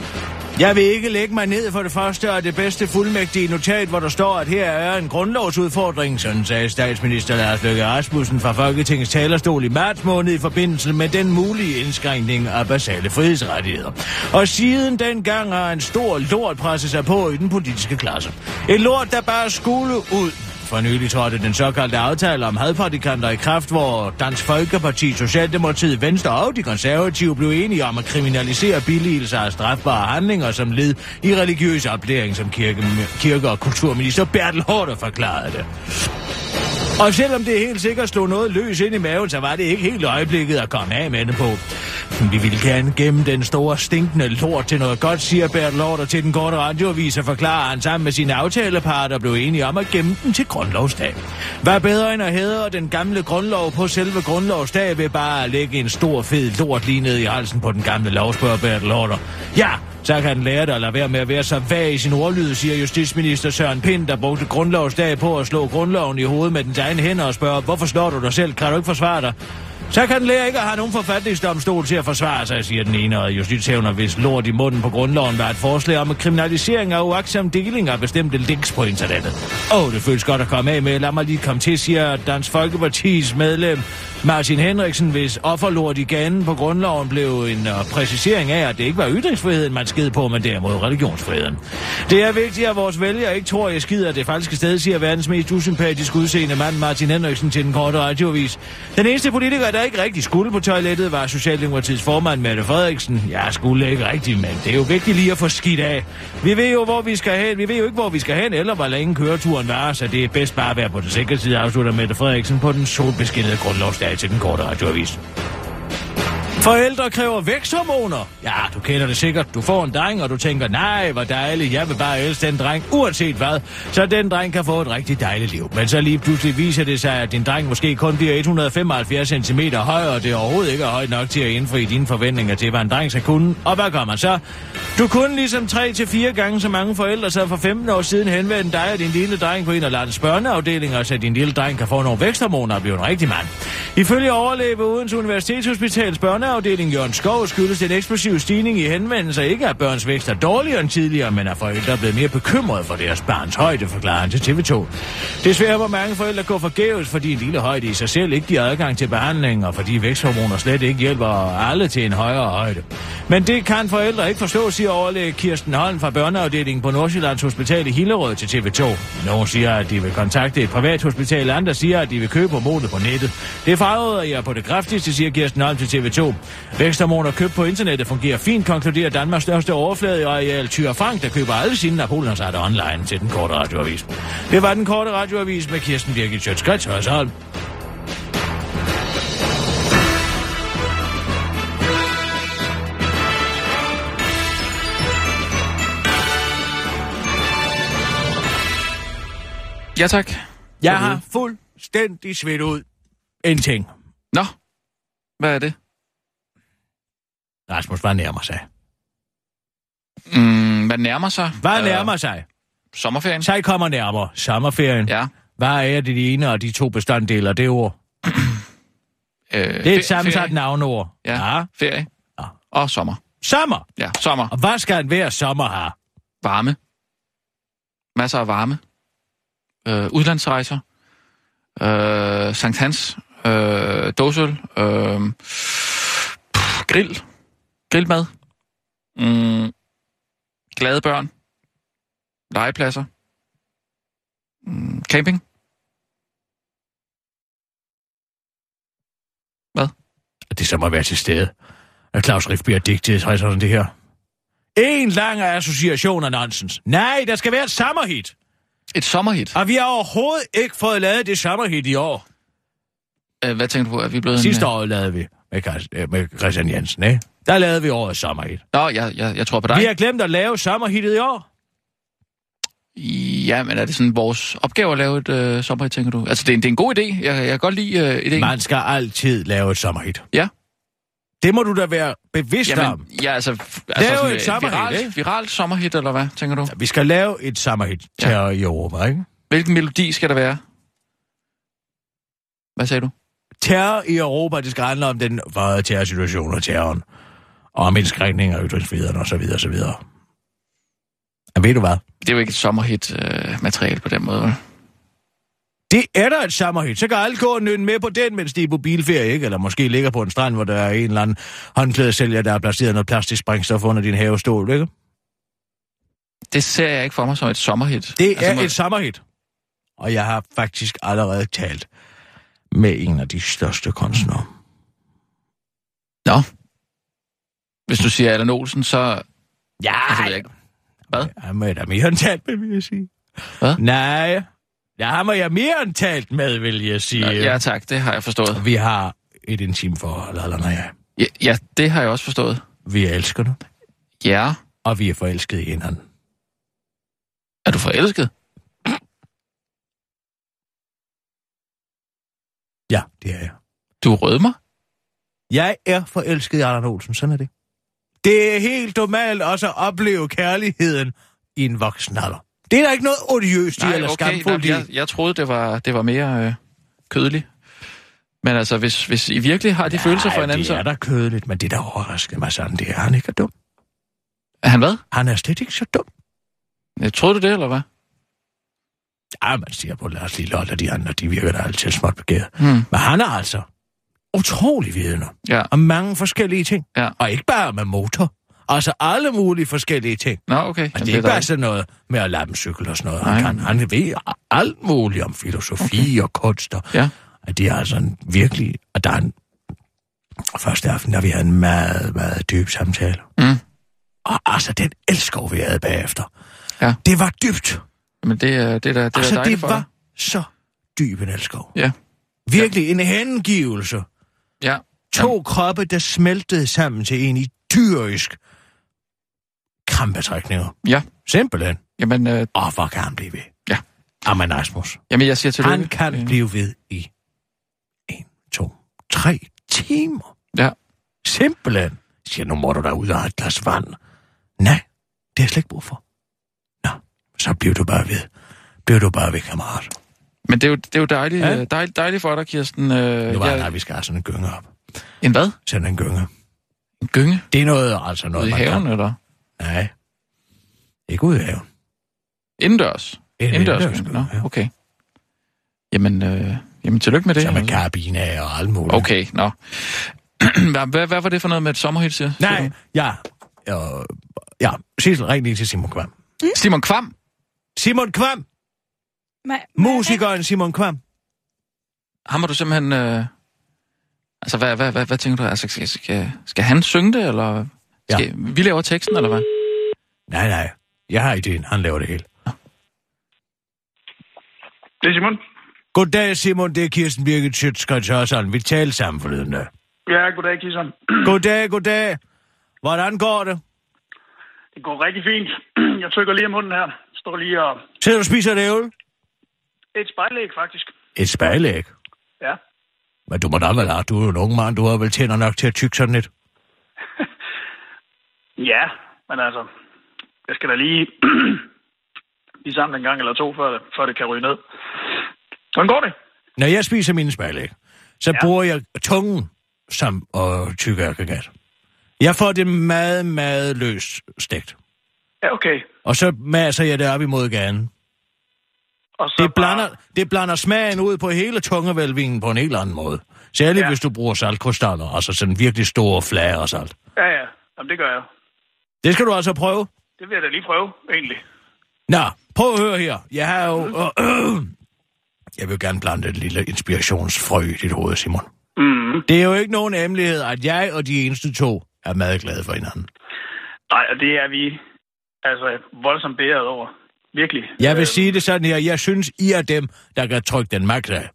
Jeg vil ikke lægge mig ned for det første og det bedste fuldmægtige notat, hvor der står, at her er en grundlovsudfordring, sådan sagde statsminister Lars Løkke Rasmussen fra Folketingets talerstol i marts måned i forbindelse med den mulige indskrænkning af basale frihedsrettigheder. Og siden dengang har en stor lort presset sig på i den politiske klasse. Et lort, der bare skulle ud, for nylig trådte den såkaldte aftale om hadprædikanter i kraft, hvor Dansk Folkeparti, Socialdemokratiet, Venstre og de konservative blev enige om at kriminalisere billigelser af strafbare handlinger som led i religiøs oplæring, som kirke, kirke- og kulturminister Bertel Hårder forklarede det. Og selvom det helt sikkert slog noget løs ind i maven, så var det ikke helt øjeblikket at komme af med det på. Vi ville gerne gemme den store stinkende lort til noget godt, siger Bert Lort, og til den korte radioavis og forklarer han sammen med sine aftaleparter blev enige om at gemme den til grundlovsdag. Hvad bedre end at hædre den gamle grundlov på selve grundlovsdag ved bare at lægge en stor fed lort lige ned i halsen på den gamle lov, spørger Bert Lorter. Ja, så kan den lære dig at lade være med at være så vag i sin ordlyd, siger justitsminister Søren Pind, der brugte grundlovsdag på at slå grundloven i hovedet med dens egne hænder og spørge, hvorfor slår du dig selv? Kan du ikke forsvare dig? Så kan den lære ikke at have nogen forfatningsdomstol til at forsvare sig, siger den ene, og justitshævner, hvis lort i munden på grundloven var et forslag om en kriminalisering af uaksom deling af bestemte links på internettet. Åh, oh, det føles godt at komme af med. Lad mig lige komme til, siger Dansk Folkepartis medlem Martin Henriksen, hvis offerlort i ganen på grundloven blev en øh, præcisering af, at det ikke var ytringsfriheden, man sked på, men derimod religionsfriheden. Det er vigtigt, at vores vælgere ikke tror, at jeg skider det falske sted, siger verdens mest usympatisk udseende mand Martin Henriksen til den korte radioavis. Den eneste politiker, der ikke rigtig skulle på toilettet, var Socialdemokratiets formand Mette Frederiksen. Jeg skulle ikke rigtigt, men det er jo vigtigt lige at få skidt af. Vi ved jo, hvor vi skal hen. Vi ved jo ikke, hvor vi skal hen, eller hvor længe køreturen var, så det er bedst bare at være på den sikre side, afslutter Mette Frederiksen på den solbeskinnede grundlovsdag til den korte radioavis. Forældre kræver væksthormoner. Ja, du kender det sikkert. Du får en dreng, og du tænker, nej, hvor dejligt, jeg vil bare elske den dreng, uanset hvad. Så den dreng kan få et rigtig dejligt liv. Men så lige pludselig viser det sig, at din dreng måske kun bliver 175 cm høj, og det overhovedet ikke er højt nok til at indfri dine forventninger til, hvad en dreng skal kunne. Og hvad gør man så? Du kunne ligesom 3-4 gange så mange forældre, så for 15 år siden henvendte dig og din lille dreng på en af landets børneafdelinger, så din lille dreng kan få nogle væksthormoner og blive en rigtig mand. Ifølge overlæge ved Odense Universitetshospitals børneafdeling Jørgen Skov skyldes den eksplosive stigning i henvendelser ikke, at børns vækst er dårligere end tidligere, men at forældre er blevet mere bekymrede for deres barns højde, forklarer han til TV2. Desværre må mange forældre gå forgæves, fordi en lille højde i sig selv ikke giver adgang til behandling, og fordi væksthormoner slet ikke hjælper alle til en højere højde. Men det kan forældre ikke forstå, siger overlæge Kirsten Holm fra børneafdelingen på Nordsjællands Hospital i Hillerød til TV2. Nogle siger, at de vil kontakte et privat hospital, andre siger, at de vil købe hormonet på nettet. Det fraråder jeg på det kraftigste, siger Kirsten Holm til TV2. Væksthormoner købt på internettet fungerer fint, konkluderer Danmarks største overfladeareal Tyre Frank, der køber alle sine Napoleonsarter online til den korte radioavis. Det var den korte radioavis med Kirsten Birgit Sjøtskrets Hørsholm.
Ja, tak.
Jeg har fuldstændig svedt ud. En ting.
Nå, hvad er det?
Rasmus, hvad nærmer sig?
Mm, hvad nærmer sig?
Hvad
Øh,
nærmer sig?
Sommerferien?
Så I kommer nærmere sommerferien.
Ja.
Hvad er det de ene og de to bestanddele af det ord?
Øh,
Det er
fe-
et sammensat
ferie.
navneord.
Ja, ferie.
Ja.
Og sommer.
Sommer.
Ja, sommer.
Og hvad skal en hver sommer have?
Varme. Masser af varme. Øh, udlandsrejser. øh, Sankt Hans, øh, dåsøl, øh, pff, grill, grillmad, mm, glade børn, legepladser, mm, camping.
at det så må være til stede. At Claus Riff bliver digtet så sådan det her. En lang association af nonsens. Nej, der skal være et sommerhit.
Et sommerhit.
Og vi har overhovedet ikke fået lavet det sommerhit i år.
Øh, hvad tænker du på? Er vi blevet
Sidste
en, øh,
år lavede vi med, Kar- øh, med Christian Jensen, ikke? Der lavede vi årets sommerhit.
Nå, jeg, jeg, jeg tror på dig.
Vi har glemt at lave sommerhittet i år.
Ja, men er det sådan vores opgave at lave et øh, sommerhit, tænker du? Altså, det er, en- det er en god idé. Jeg, jeg kan godt lide øh, idéen.
Man skal altid lave et sommerhit.
Ja.
Det må du da være bevidst om.
Jamen, ja, altså, f- altså
jo
sådan
et sommerhit,
viralt,
ikke?
viralt sommerhit, eller hvad, tænker du?
Vi skal lave et sommerhit til i Europa, ikke?
Hvilken melodi skal der være? Hvad sagde du?
terror i Europa, det skal handle om den vrede terrorsituation og terroren, og om indskrænkning af ytringsfriheden og så videre, og så videre. Men ved du hvad?
Det er jo ikke et sommerhit-materiale på den måde, vel?
Det er der et sommerhit. Så kan alle gå og nynne med på den, mens de er på bilferie, ikke? Eller måske ligger på en strand, hvor der er en eller anden håndklædesælger, der har placeret noget plastisk sprængstof under din havestol, ikke?
Det ser jeg ikke for mig som et sommerhit.
Det
Altså,
er
må-
et sommerhit. Og jeg har faktisk allerede talt med en af de største kunstnere.
Hvis du siger Allan Olsen, så...
Ja,
Altså, ved jeg ikke. Hvad?
Ham er der mere end talt med, vil jeg sige.
Hvad?
Nej, ja, ham er jeg mere end talt med, vil jeg sige.
Nå, ja, tak. Det har jeg forstået.
Vi har et intimt forhold, Allan og jeg.
Ja, ja det har jeg også forstået.
Vi elsker det,
Ja.
og vi er forelskede i hinanden.
Er du forelsket?
Ja, det er jeg.
Du rødmer?
Jeg er forelsket i Allan Olsen, sådan er det. Det er helt normalt også at opleve kærligheden i en voksen alder. Det er der ikke noget odiøst i eller skamfuldt i.
nej, jeg, jeg troede, det var, det var mere øh, kødeligt. Men altså, hvis, hvis I virkelig har de ja, følelser for
Ej,
hinanden,
det
så...
er da kødeligt, men det der overraskede mig sådan, det er, at han ikke er dum.
Er han hvad?
Han er slet ikke så dum.
Jeg troede du det, eller hvad?
Ja, man siger på Lars Lillot og de andre, de virker da altid småt begæret.
Hmm.
Men han er altså utrolig vidende
Ja.
om mange forskellige ting.
Ja.
Og ikke bare med motor. Altså alle mulige forskellige ting.
Nå, okay.
Og
Jamen,
det er ikke bare
dejligt.
sådan noget med at lade cykle og sådan noget.
Nej.
Han, kan, han ved alt muligt om filosofi okay. og kunst. Og,
Ja.
At det er altså en virkelig... Og der er en... og Første aften, der vi havde en meget, meget dyb samtale.
Mm.
Og altså, den elskov, vi havde bagefter.
Ja.
Det var dybt.
Men det, er- det er da det er da
altså,
dejligt
det
for
var
dig.
så dyb en elskov.
Ja.
Virkelig en hengivelse.
Ja.
To Jamen. kroppe, der smeltede sammen til en i dyrisk krampetrækninger.
Ja.
Simpelthen.
Jamen, øh,
Åh, hvor kan han blive ved?
Ja.
Amen, Asmus.
jamen, jeg siger tillykke.
Han kan
Øh,
blive ved i en, to, tre timer.
Ja.
Simpelthen. Jeg siger, nu må du da ud og have et glas vand. Nej, det har jeg slet ikke brug for. Nå, så bliver du bare ved. Bliver du bare ved, kammerat.
Men det er jo, det er jo dejligt,
Ja.
ja. dejligt, dejligt for dig, Kirsten. Øh,
Nu var
jeg-
ja. vi skal have sådan en gynge op.
En hvad?
Sådan en gynge.
En gynge?
Det er noget, altså noget,
Ude i
man
haven,
kan.
eller?
Nej. Ikke ude i haven.
Indendørs?
En
Indendørs,
indendørs
gynge.
gynge,
Nå,
ja.
okay. Jamen, øh, jamen, tillykke med det.
Som med
altså.
karabiner af og alt muligt.
Okay, nå. <clears throat> hvad, hvad, hvad var det for noget med et sommerhit, siger?
Nej, ja. Øh, ja, Sissel, ring lige til Simon Kvam.
Simon Kvam?
Simon Kvam!
Ma-
Musikeren Simon Kvam.
Ham har du simpelthen... Øh... Altså, hvad, hvad, hvad, hvad tænker du? Altså, skal, skal, skal han synge det, eller...
Ja.
Skal, Vi laver teksten, eller hvad?
Nej, nej. Jeg har ideen. Han laver det hele.
Det er Simon.
Goddag, Simon. Det er Kirsten Birgit Sjøtskrets Hørsholm. Vi talte sammen forleden dag.
Ja, goddag, Kisson.
Goddag, goddag. Hvordan går det?
Det går rigtig fint. Jeg trykker lige om hunden her. Står lige og...
Sidder du og spiser et ævl?
Et spejlæg, faktisk.
Et spejlæg.
Ja.
Men du må da vel have, du er jo en ung mand, du har vel tænder nok til at tykke sådan lidt.
Ja, men altså... Jeg skal da lige... <clears throat> lige sammen en gang eller to, før det, før det kan ryge ned. Hvordan går det?
Når jeg spiser mine spejlæg, så ja.
Ja.
bruger jeg tungen som og tykke aggregat. Jeg får det meget, meget løst stegt.
Ja, okay.
Og så masser jeg det op imod gaden.
Og så
Det blander,
Bare,
det blander smagen ud på hele tungevælvingen på en helt anden måde. Særligt ja.
Ja.
hvis du bruger saltkrystaller, altså sådan virkelig store flager og salt.
ja, ja. Jamen, det gør jeg.
Det skal du altså prøve.
Det vil jeg da lige prøve, egentlig.
Nå, prøv at høre her. Jeg har jo... <clears throat> Øh, jeg vil gerne plante et lille inspirationsfrø i dit hoved, Simon.
Mm.
Det er jo ikke nogen hemmelighed, at jeg og de eneste to er meget glade for hinanden.
Nej, og det er vi altså voldsomt bæret over. Virkelig.
Jeg vil
Øh,
sige det sådan her. Jeg synes, I er dem, der kan trykke den magt af.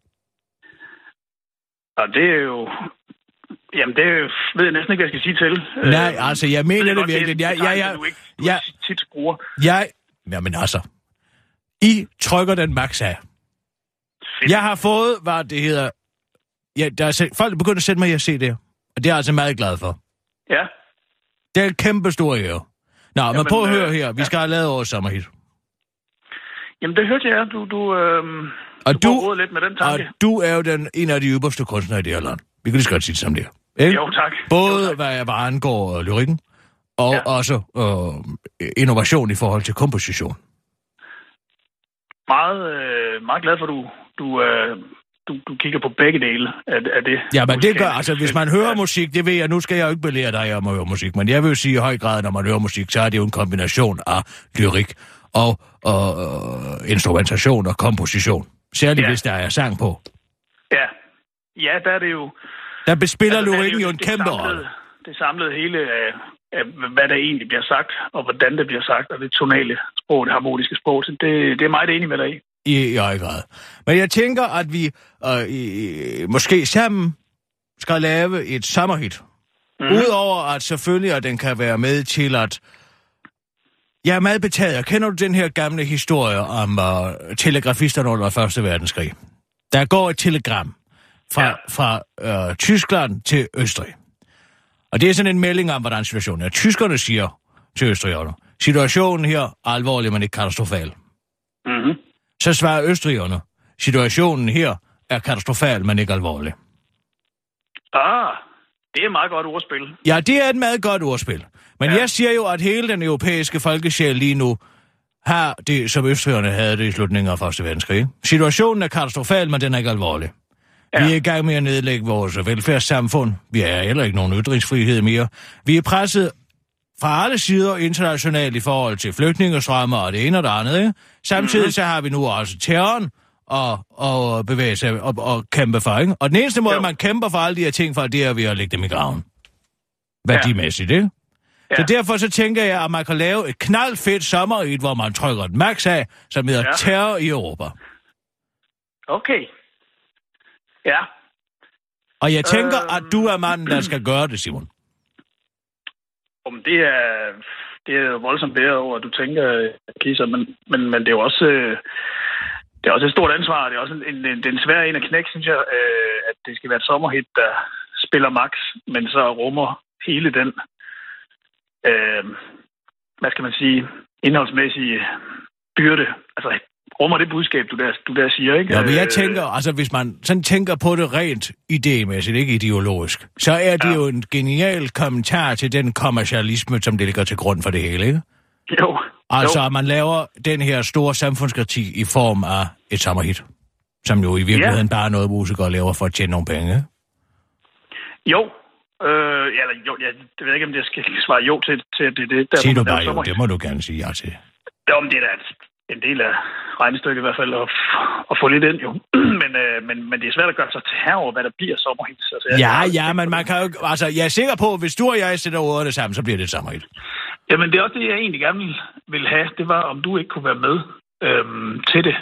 Og det er jo... Jamen, det er jo- ved jeg næsten ikke, hvad jeg skal sige til.
Nej, altså, jeg mener det
godt,
virkelig.
Øhm. er
Jeg-
en betegnelse,
jeg- jeg-
du ikke du
jeg-
tit bruger.
Jeg... Jamen altså. I trykker den max af.
Fedt.
Jeg har fået, hvad det hedder... Ja, der er se... Folk er begyndt at sende mig i at se det. Og det er jeg altså meget glad for.
Ja,
Det er en kæmpe stor ære. Nå, men
Jamen,
prøv at
øh,
høre her. Vi
ja.
skal have lavet vores sommerhit.
jamen det hørte jeg. Du, du, øh,
Og
du,
du-
du lidt med den
Og
tanke.
du er jo den, en af de ypperste kunstnere i det her land. Vi kan lige så godt sige det som det er. Ikke?
Jo, tak.
Både
Jo,
jo,
tak.
hvad jeg bare angår øh, lyrikken, og ja.
Ja.
også øh, innovation i forhold til komposition.
Meget, øh, meget glad for, at du, du, øh, du, du kigger på begge dele af, af det.
Ja, men det gør,
musikalske.
altså hvis man hører
Ja.
musik, det ved jeg, nu skal jeg jo ikke belære dig om at høre musik, men jeg vil jo sige i høj grad, når man hører musik, så er det jo en kombination af lyrik og, og øh, instrumentation og komposition. Særligt ja.
Ja.
hvis der er sang på.
Ja. ja, der er det jo...
Der bespiller altså,
der er det
lyrikken jo en
det
kæmpe
samlede-
rolle.
Det samlede hele af, af, hvad der egentlig bliver sagt, og hvordan det bliver sagt, og det tonale sprog, det harmoniske sprog, så det, det er meget enig med dig i.
i, i høj grad. Men jeg tænker, at vi øh, i, måske sammen skal lave et sommerhit. Mm. Udover at selvfølgelig, at den kan være med til at... Jeg er meget betaget. af- Kender du den her gamle historie om øh, telegrafisterne under 1. verdenskrig? Der går et telegram fra, ja.
Ja.
fra øh, Tyskland til Østrig. Og det er sådan en melding om, hvordan situationen er. Tyskerne siger til østrigerne, situationen her er alvorlig, men ikke katastrofal.
Mm-hmm.
Så svarer østrigerne, situationen her er katastrofal, men ikke alvorlig.
Ah, det er et meget godt ordspil.
Ja, det er et meget godt ordspil. Men ja.
Ja.
jeg siger jo, at hele den europæiske folkesjæl lige nu har det, som østrigerne havde det i slutningen af 1. verdenskrig. Situationen er katastrofal, men den er ikke alvorlig. Ja.
Ja.
Vi er i gang med at nedlægge vores velfærdssamfund. Vi har heller ikke nogen ytringsfrihed mere. Vi er presset fra alle sider internationalt i forhold til flygtningestrømmer og det ene og det andet. Ikke? Samtidig
Mhm.
så har vi nu også terroren og, og bevæge sig og, og kæmpe for. Ikke? Og den eneste måde, jo.
Jo.
man kæmper for alle de her ting for, det er ved at lægge dem i graven. Værdimæssigt, ikke? Ja.
Ja.
Så derfor så tænker jeg, at man kan lave et knaldfedt sommer i, hvor man trykker et max af, som hedder ja.
Ja.
terror i Europa.
Okay. Ja,
Og jeg tænker, øh...
Øhm.
at du er manden, der skal gøre det, Simon.
om det er, det er voldsomt bedre over, at du tænker, øh, Kisser, men, men, men det er jo også... øh, Det er også et stort ansvar, og det er også en, en, en, det er en svær en at knække, synes jeg, øh, at det skal være et sommerhit, der spiller max, men så rummer hele den, øh, hvad skal man sige, indholdsmæssige byrde. Altså, rummer det budskab, du der, du der siger, ikke?
Ja, men jeg
Øh,
tænker, altså hvis man sådan tænker på det rent idémæssigt, ikke ideologisk, så er det ja.
Ja.
jo en genial kommentar til den kommercialisme, som det ligger til grund for det hele, ikke?
Jo,
Altså,
jo.
at man laver den her store samfundskritik i form af et sommerhit, som jo i virkeligheden ja. bare er noget, musikere laver for at tjene nogle penge. ikke?
Jo. Øh, ja, eller jo, jeg det ved jeg ikke, om jeg skal svare jo til, til at det. er det der,
Sig
hvor
du
man laver
bare jo,
sommerhit.
det må du gerne sige ja til.
Jo, men det er da et- en del af regnestykket i hvert fald at, f- at få lidt ind, jo. <clears throat> men, øh, men, men det er svært at gøre sig til her over, hvad der bliver sommerhits. Altså, jeg-
Ja, ja, men man kan jo... ikke- Altså, jeg er sikker på, at hvis du og jeg sætter ordene sammen, så bliver det et sommerhit.
Jamen, det er også det, jeg egentlig gerne ville- ville have. Det var, om du ikke kunne være med øhm, til det.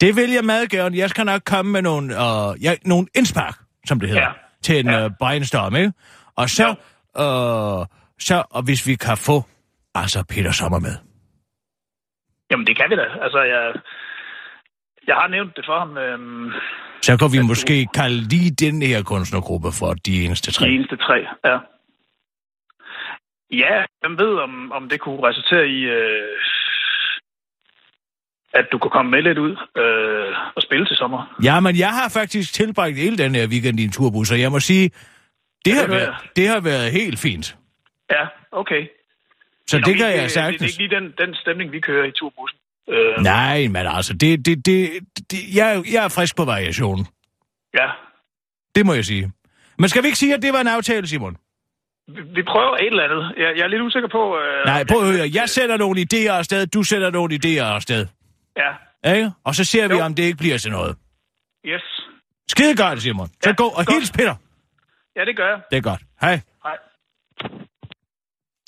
Det vil jeg meget gerne. Jeg skal nok komme med nogle, øh, ja, nogle indspark, som det hedder, ja.
Ja.
til en ja.
Ja.
øh, brainstorm, ikke? Og så, øh, så og hvis vi kan få altså Peter Sommer med.
Jamen, det kan vi da. Altså, jeg, jeg har nævnt det for ham. Øhm,
Så kan vi måske kalde lige den her kunstnergruppe for de eneste tre.
De eneste tre, ja. Ja, hvem ved, om, om det kunne resultere i, øh, at du kunne komme med lidt ud øh, og spille til sommer.
Ja, men jeg har faktisk tilbragt hele den her weekend i en turbus, og jeg må sige, det, har,
hører
været, det har været helt fint.
Ja, okay.
Så
Nå,
det
vi-
kan
øh,
jeg
Det er
sagtens.
ikke lige den, den stemning, vi kører i turbussen.
Øh,
Nej, men altså, det, det, det, det jeg, jeg er frisk på variationen.
ja,
Det må jeg sige. Men skal vi ikke sige, at det var en aftale, Simon?
vi, vi prøver et eller andet. Jeg, jeg er lidt usikker på... Øh,
Nej, prøv at høre. Jeg sætter nogle idéer afsted, du sætter nogle idéer afsted.
Ja,
Ikke? Og så ser vi,
Jo.
om det ikke bliver til noget.
yes.
Skide godt, Simon. Så
Ja,
gå og
godt.
hils Peter.
Ja, det gør jeg.
Det er godt. Hej.
Hej.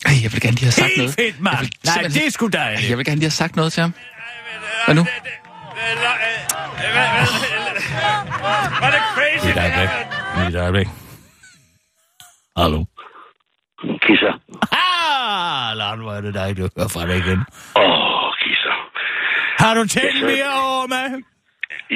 Ej, jeg vil gerne lige have sagt
Helt
noget.
fedt, mand.
Jeg vil
Nej,
simpelthen-
det er sgu
Ej,
dejligt.
jeg vil gerne lige have sagt noget til ham. Hvad nu?
Mit øjeblik. Mit øjeblik. Hallo.
Kisser.
Ah, Lars, hvor er det dejligt at høre fra dig igen.
Åh, kisser.
Har du tænkt mere over mig?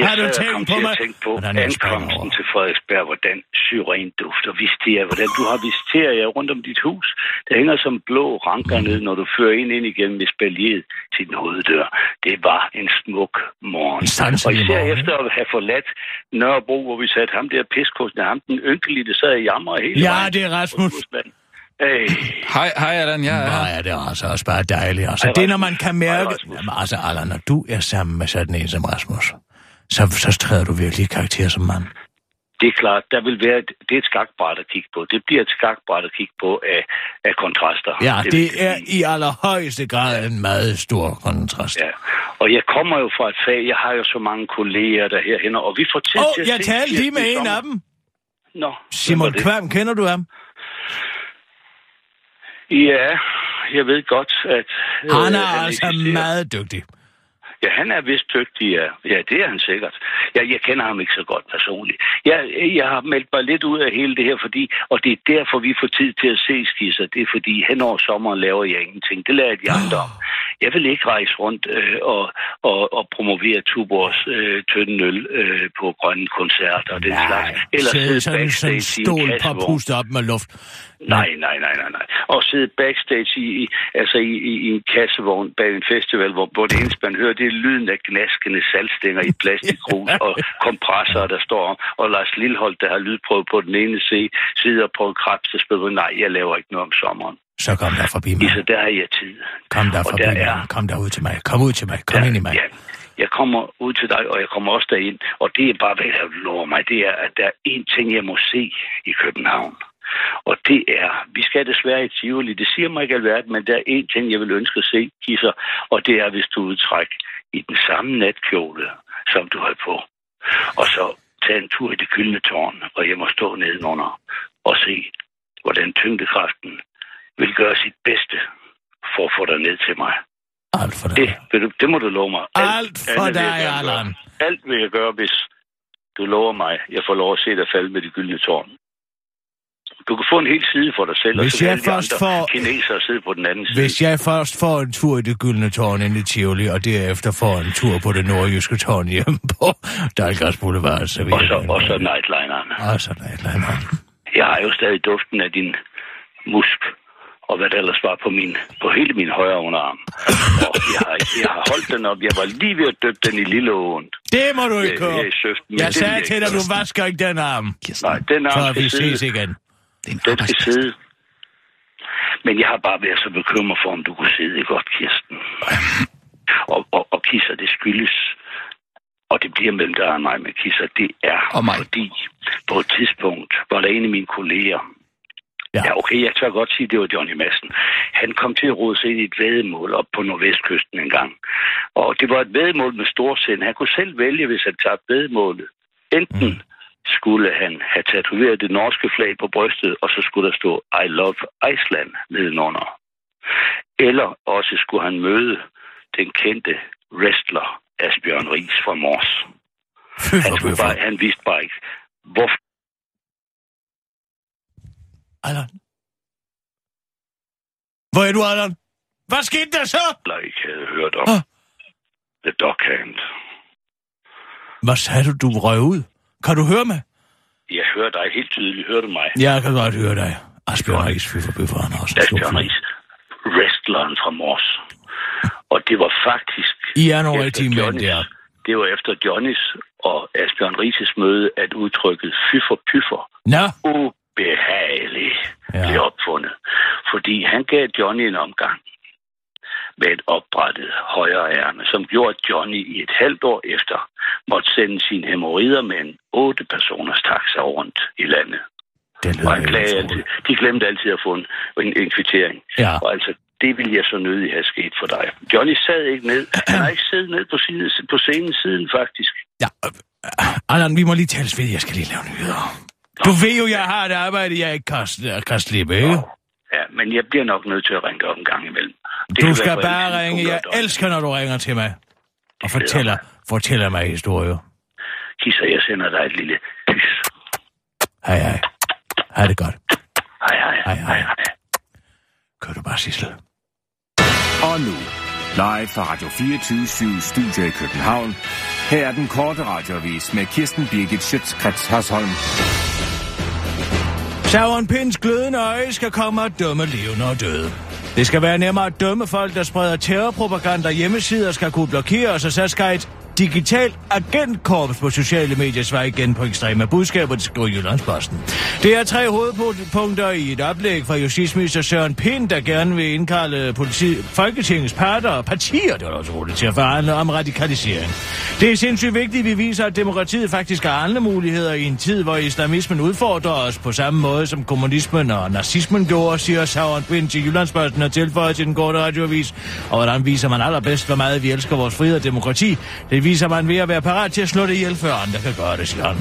Jeg
Har du
sad og
tænkt
kom
på
til
mig?
at tænke på
Hvordan jeg springer
ankomsten
over.
til Frederiksberg, hvordan syren dufter, visiterer, hvordan du har visiterer rundt om dit hus. Der hænger som blå ranker ned, når du fører en ind igennem espaliet til din hoveddør. Det var en smuk morgen.
En sanselig
Og især
morgen,
efter at have forladt Nørrebro, hvor vi satte ham der piskosten af ham, den ynkelige, der sad og jamrede hele
Ja,
vejen.
det er Rasmus.
Hey,
Hej, hej Allan, jeg er her.
Nej, det er altså også bare dejligt. Altså.
Hej,
Det er, når
Rasmus.
man kan
Hej,
mærke...
Rasmus.
Jamen, altså, Allan, når du er sammen med sådan en som Rasmus, så, så træder du virkelig i karakter som mand.
Det er klart, der vil være et, det er et skakbræt at kigge på. Det bliver et skakbræt at kigge på af, af kontraster.
Ja,
vil
det er i
sige.
allerhøjeste grad en meget stor kontrast.
Ja, og jeg kommer jo fra et fag, jeg har jo så mange kolleger der herhenne, og vi får tid
Åh,
til
oh,
at
jeg
se
talte lige med
i
en
sommer.
af dem.
Nå,
Simon
hvem var det?
Kvam, kender du ham?
Ja, jeg ved godt, at... øh,
Han er altså
eksisterer.
meget dygtig.
Ja, han er vist dygtig, ja. Ja, det er han sikkert. Ja, jeg kender ham ikke så godt personligt. Jeg, jeg har meldt mig lidt ud af hele det her, fordi, og det er derfor, vi får tid til at se skisser. Det er fordi, hen over sommeren laver jeg ingenting. Det lader jeg de andre om. Jeg vil ikke rejse rundt øh, og, og, og promovere Tuborgs øh, tynde øl øh, på grønne koncerter og den slags. Eller
sidde
sidde
sådan sådan
backstage i en
stål på
kassevogn.
pustet op med luft.
Nej, nej, nej, nej, nej. Og sidde backstage i, i, altså i, i, i en kassevogn bag en festival, hvor, hvor det eneste, man hører, det er lyden af gnaskende saltstænger i plastikrus og kompressorer, der står om. Og Lars Lilholdt, der har lydprøve på den ene side, sidder på en krebs, der spiller, nej, jeg laver ikke noget om sommeren.
Så kom der forbi mig.
Så der har jeg tid.
Kom der
og
forbi
der
mig.
er-
Kom der ud til mig. Kom ud til mig. Kom
Ja,
ind i mig.
Ja. Jeg kommer ud til dig, og jeg kommer også derind. Og det er bare, hvad jeg lover mig, det er, at der er én ting, jeg må se i København. Og det er, vi skal desværre i Tivoli, det siger mig ikke alverden, men der er én ting, jeg vil ønske at se, Kisser, og det er, hvis du udtræk i den samme natkjole, som du har på. Og så tage en tur i det gyldne tårn, og jeg må stå nedenunder og se, hvordan tyngdekraften vil gøre sit bedste for at få dig ned til mig.
Alt for
Det,
dig.
vil du, det må du love mig.
Alt for
andet vil jeg
dig,
gerne gøre.
Allan.
Alt vil jeg gøre, hvis du lover mig, jeg får lov at se dig falde med det gyldne tårn. Du kan få en hel side for dig selv,
Hvis
og så kan
jeg
alle de
først
andre
får-
kinesere sidde på den anden side.
Hvis jeg først får en tur i det gyldne tårn ind i Tivoli, og derefter får en tur på det nordjyske tårn hjemme på Dalgas Boulevard, så vil
Og
jeg...
så,
gerne
og så
være-
nightlineren.
Og så nej, nej, nej.
Jeg har jo stadig duften af din musk, og hvad der ellers var på, min, på hele min højre underarm. Og jeg har, jeg har holdt den op. Jeg var lige ved at døbe den i Lilleåen.
Det må du ikke
Jeg,
køre.
jeg, søften,
Jeg
men det vil
sagde
jeg
til dig,
ikke.
du vasker ikke den arm.
Kirsten,
Nej, den arm
Så
skal
vi
sidde-
ses igen.
det er en
Den skal
arbejdsplads.
sidde. Men jeg har bare været så bekymret for, om du kunne sidde godt, Kirsten. Og, og, og kisser, det skyldes. Og det bliver mellem dig og mig med kisser. Det er
Og mig.
fordi, på et tidspunkt var der en af mine kolleger.
Ja.
Ja. ja, okay, jeg tør godt sige, det var Johnny Madsen. Han kom til at rode sig ind i et vædemål op på Nordvestkysten en gang. Og det var et vædemål med storsind. Han kunne selv vælge, hvis han tabte vædemålet. Enten mm skulle han have tatoveret det norske flag på brystet, og så skulle der stå I love Iceland nedenunder. Eller også skulle han møde den kendte wrestler Asbjørn Ries fra Mors.
Fy
Han,
for
skulle bare,
bøffer.
han vidste bare ikke, hvorfor
Allan. Hvor er du, Allan? Hvad skete der så?
jeg ikke havde hørt om
Ah.
The Dockhand.
Hvad sagde du, du røg ud? Kan du høre mig?
Jeg hører dig helt tydeligt. Hører du mig?
Jeg kan godt høre dig. Asbjørn Ries, fy for bøffer, han er også en stor
Asbjørn
fyr.
Ries, wrestleren fra Mors. Og det var faktisk
I er nogle
Efter
rigtige mænd,
Johnnys-
der.
Det var efter Johnnys og Asbjørn Rises møde, at udtrykket fyffer pyffer
Nå,
ubehagelig
Ja.
ja. blev opfundet. Fordi han gav Johnny en omgang. med et opbrættet højre ærme, som gjorde, at Johnny i et halvt år efter måtte sende sine hemorrider med en otte personers taxa rundt i landet.
Det
Og
lyder
han klagede altid. De glemte altid at få en, en, en kvittering.
Ja.
Og altså, det ville jeg så nødig have sket for dig. Johnny sad ikke ned. Han har ikke siddet ned på, siden, på scenen siden, faktisk.
Ja, øh, øh, Allan, vi må lige tales ved. Jeg skal lige lave nyheder. Du ved jo, jeg har et arbejde, jeg ikke kan, s- kan slippe, ikke?
Ja, men jeg bliver nok nødt til at ringe dig op en gang imellem. Det
Du
kan
skal
være på alle
bare ringe. Jeg
tidspunkter, dog.
elsker, når du ringer til mig. Og
glæder
fortæller, fortæller mig historier.
Kisser, jeg sender dig et lille pys.
Hej, hej. Hej, det godt.
Hej, hej,
Hej,
hej,
hej.
hej. hej.
Kør du bare, Sissel.
Og nu, live fra Radio 24 Studio i København. Her er den korte radiovis med Kirsten Birgit Schøtzgrads Hasholm.
Sauron Pins glødende øje skal komme og dømme levende og døde. Det skal være nemmere at dømme folk, der spreder terrorpropaganda hjemmesider, skal kunne blokeres, og så skal et digitalt agentkorps på sociale medier svare igen på ekstreme budskaber, det skriver Jyllandsposten. Det er tre hovedpunkter i et oplæg fra justitsminister Søren Pind, der gerne vil indkalde politi- Folketingets parter og partier, det var da også roligt, til at forhandle om radikalisering. Det er sindssygt vigtigt, at vi viser, at demokratiet faktisk har andre muligheder i en tid, hvor islamismen udfordrer os på samme måde, som kommunismen og nazismen gjorde, siger Sauron Pind til Jyllandsposten og tilføjer til den korte radioavis. Og hvordan viser man allerbedst, hvor meget vi elsker vores frihed og demokrati? Det viser man ved at være parat til at slå det ihjel, før andre kan gøre det, siger han.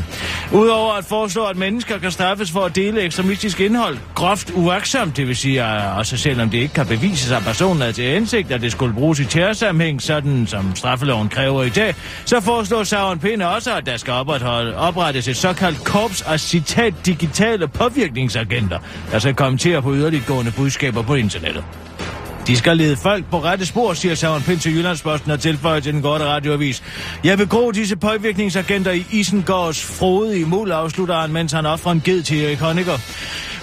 Udover at foreslå, at mennesker kan straffes for at dele ekstremistisk indhold, groft uaksomt, det vil sige, øh, også selvom det ikke kan bevises, at personen er til indsigt, at det skulle bruges i terrorsammenhæng, sådan som straffeloven kræver i dag, så foreslår Sauron Pind også, at der skal opretholde, oprettes et såkaldt korps af citat digitale påvirkningsagenter, der skal kommentere på yderliggående budskaber på internettet. De skal lede folk på rette spor, siger Søren Pind til Jyllandsposten og tilføjer til den korte radioavis. Jeg vil gro disse påvirkningsagenter i Isengårds frodige mul, afslutter han, mens han offrer en ged til Erik Honecker.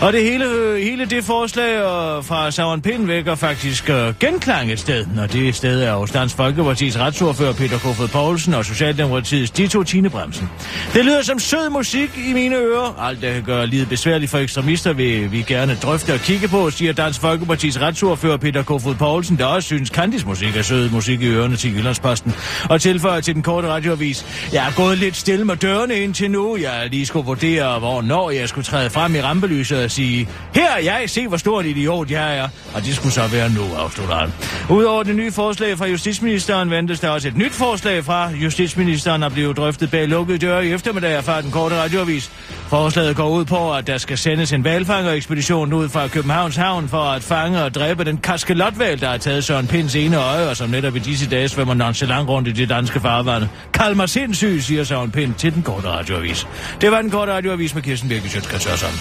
Og det hele, øh, hele det forslag øh, fra Søren Pind vækker faktisk øh, genklang et sted, og det sted er hos Dansk Folkeparti's retsordfører Peter Kofod Poulsen og Socialdemokratiets Dito Tinebremsen. Det lyder som sød musik i mine ører. Alt det gør livet besværligt for ekstremister vil vi gerne drøfte og kigge på, siger Dansk Folkeparti's retsordfører Peter Kofod Poulsen, der også synes Kandis musik er sød musik i ørerne til Jyllandsposten. Og tilføjer til den korte radioavis, jeg er gået lidt stille med dørene indtil nu. Jeg lige skulle vurdere, hvornår jeg skulle træde frem i rampelyset og sige, her er jeg, se hvor stor en idiot jeg er. Og det skulle så være nu, afslutter han. Udover det nye forslag fra justitsministeren, ventes der også et nyt forslag fra justitsministeren at blive drøftet bag lukkede døre i eftermiddag, erfarer den korte radioavis. Forslaget går ud på, at der skal sendes en valfangerekspedition ud fra Københavns Havn for at fange og dræbe den kaskelotval, der har taget Søren Pinds ene øje, og som netop i disse dage svømmer nonchalant rundt i det danske farvande. Kald mig sindssyg, siger Søren Pind til den korte radioavis. Det var den korte radioavis med Kirsten Birke Sjøtskatørsson.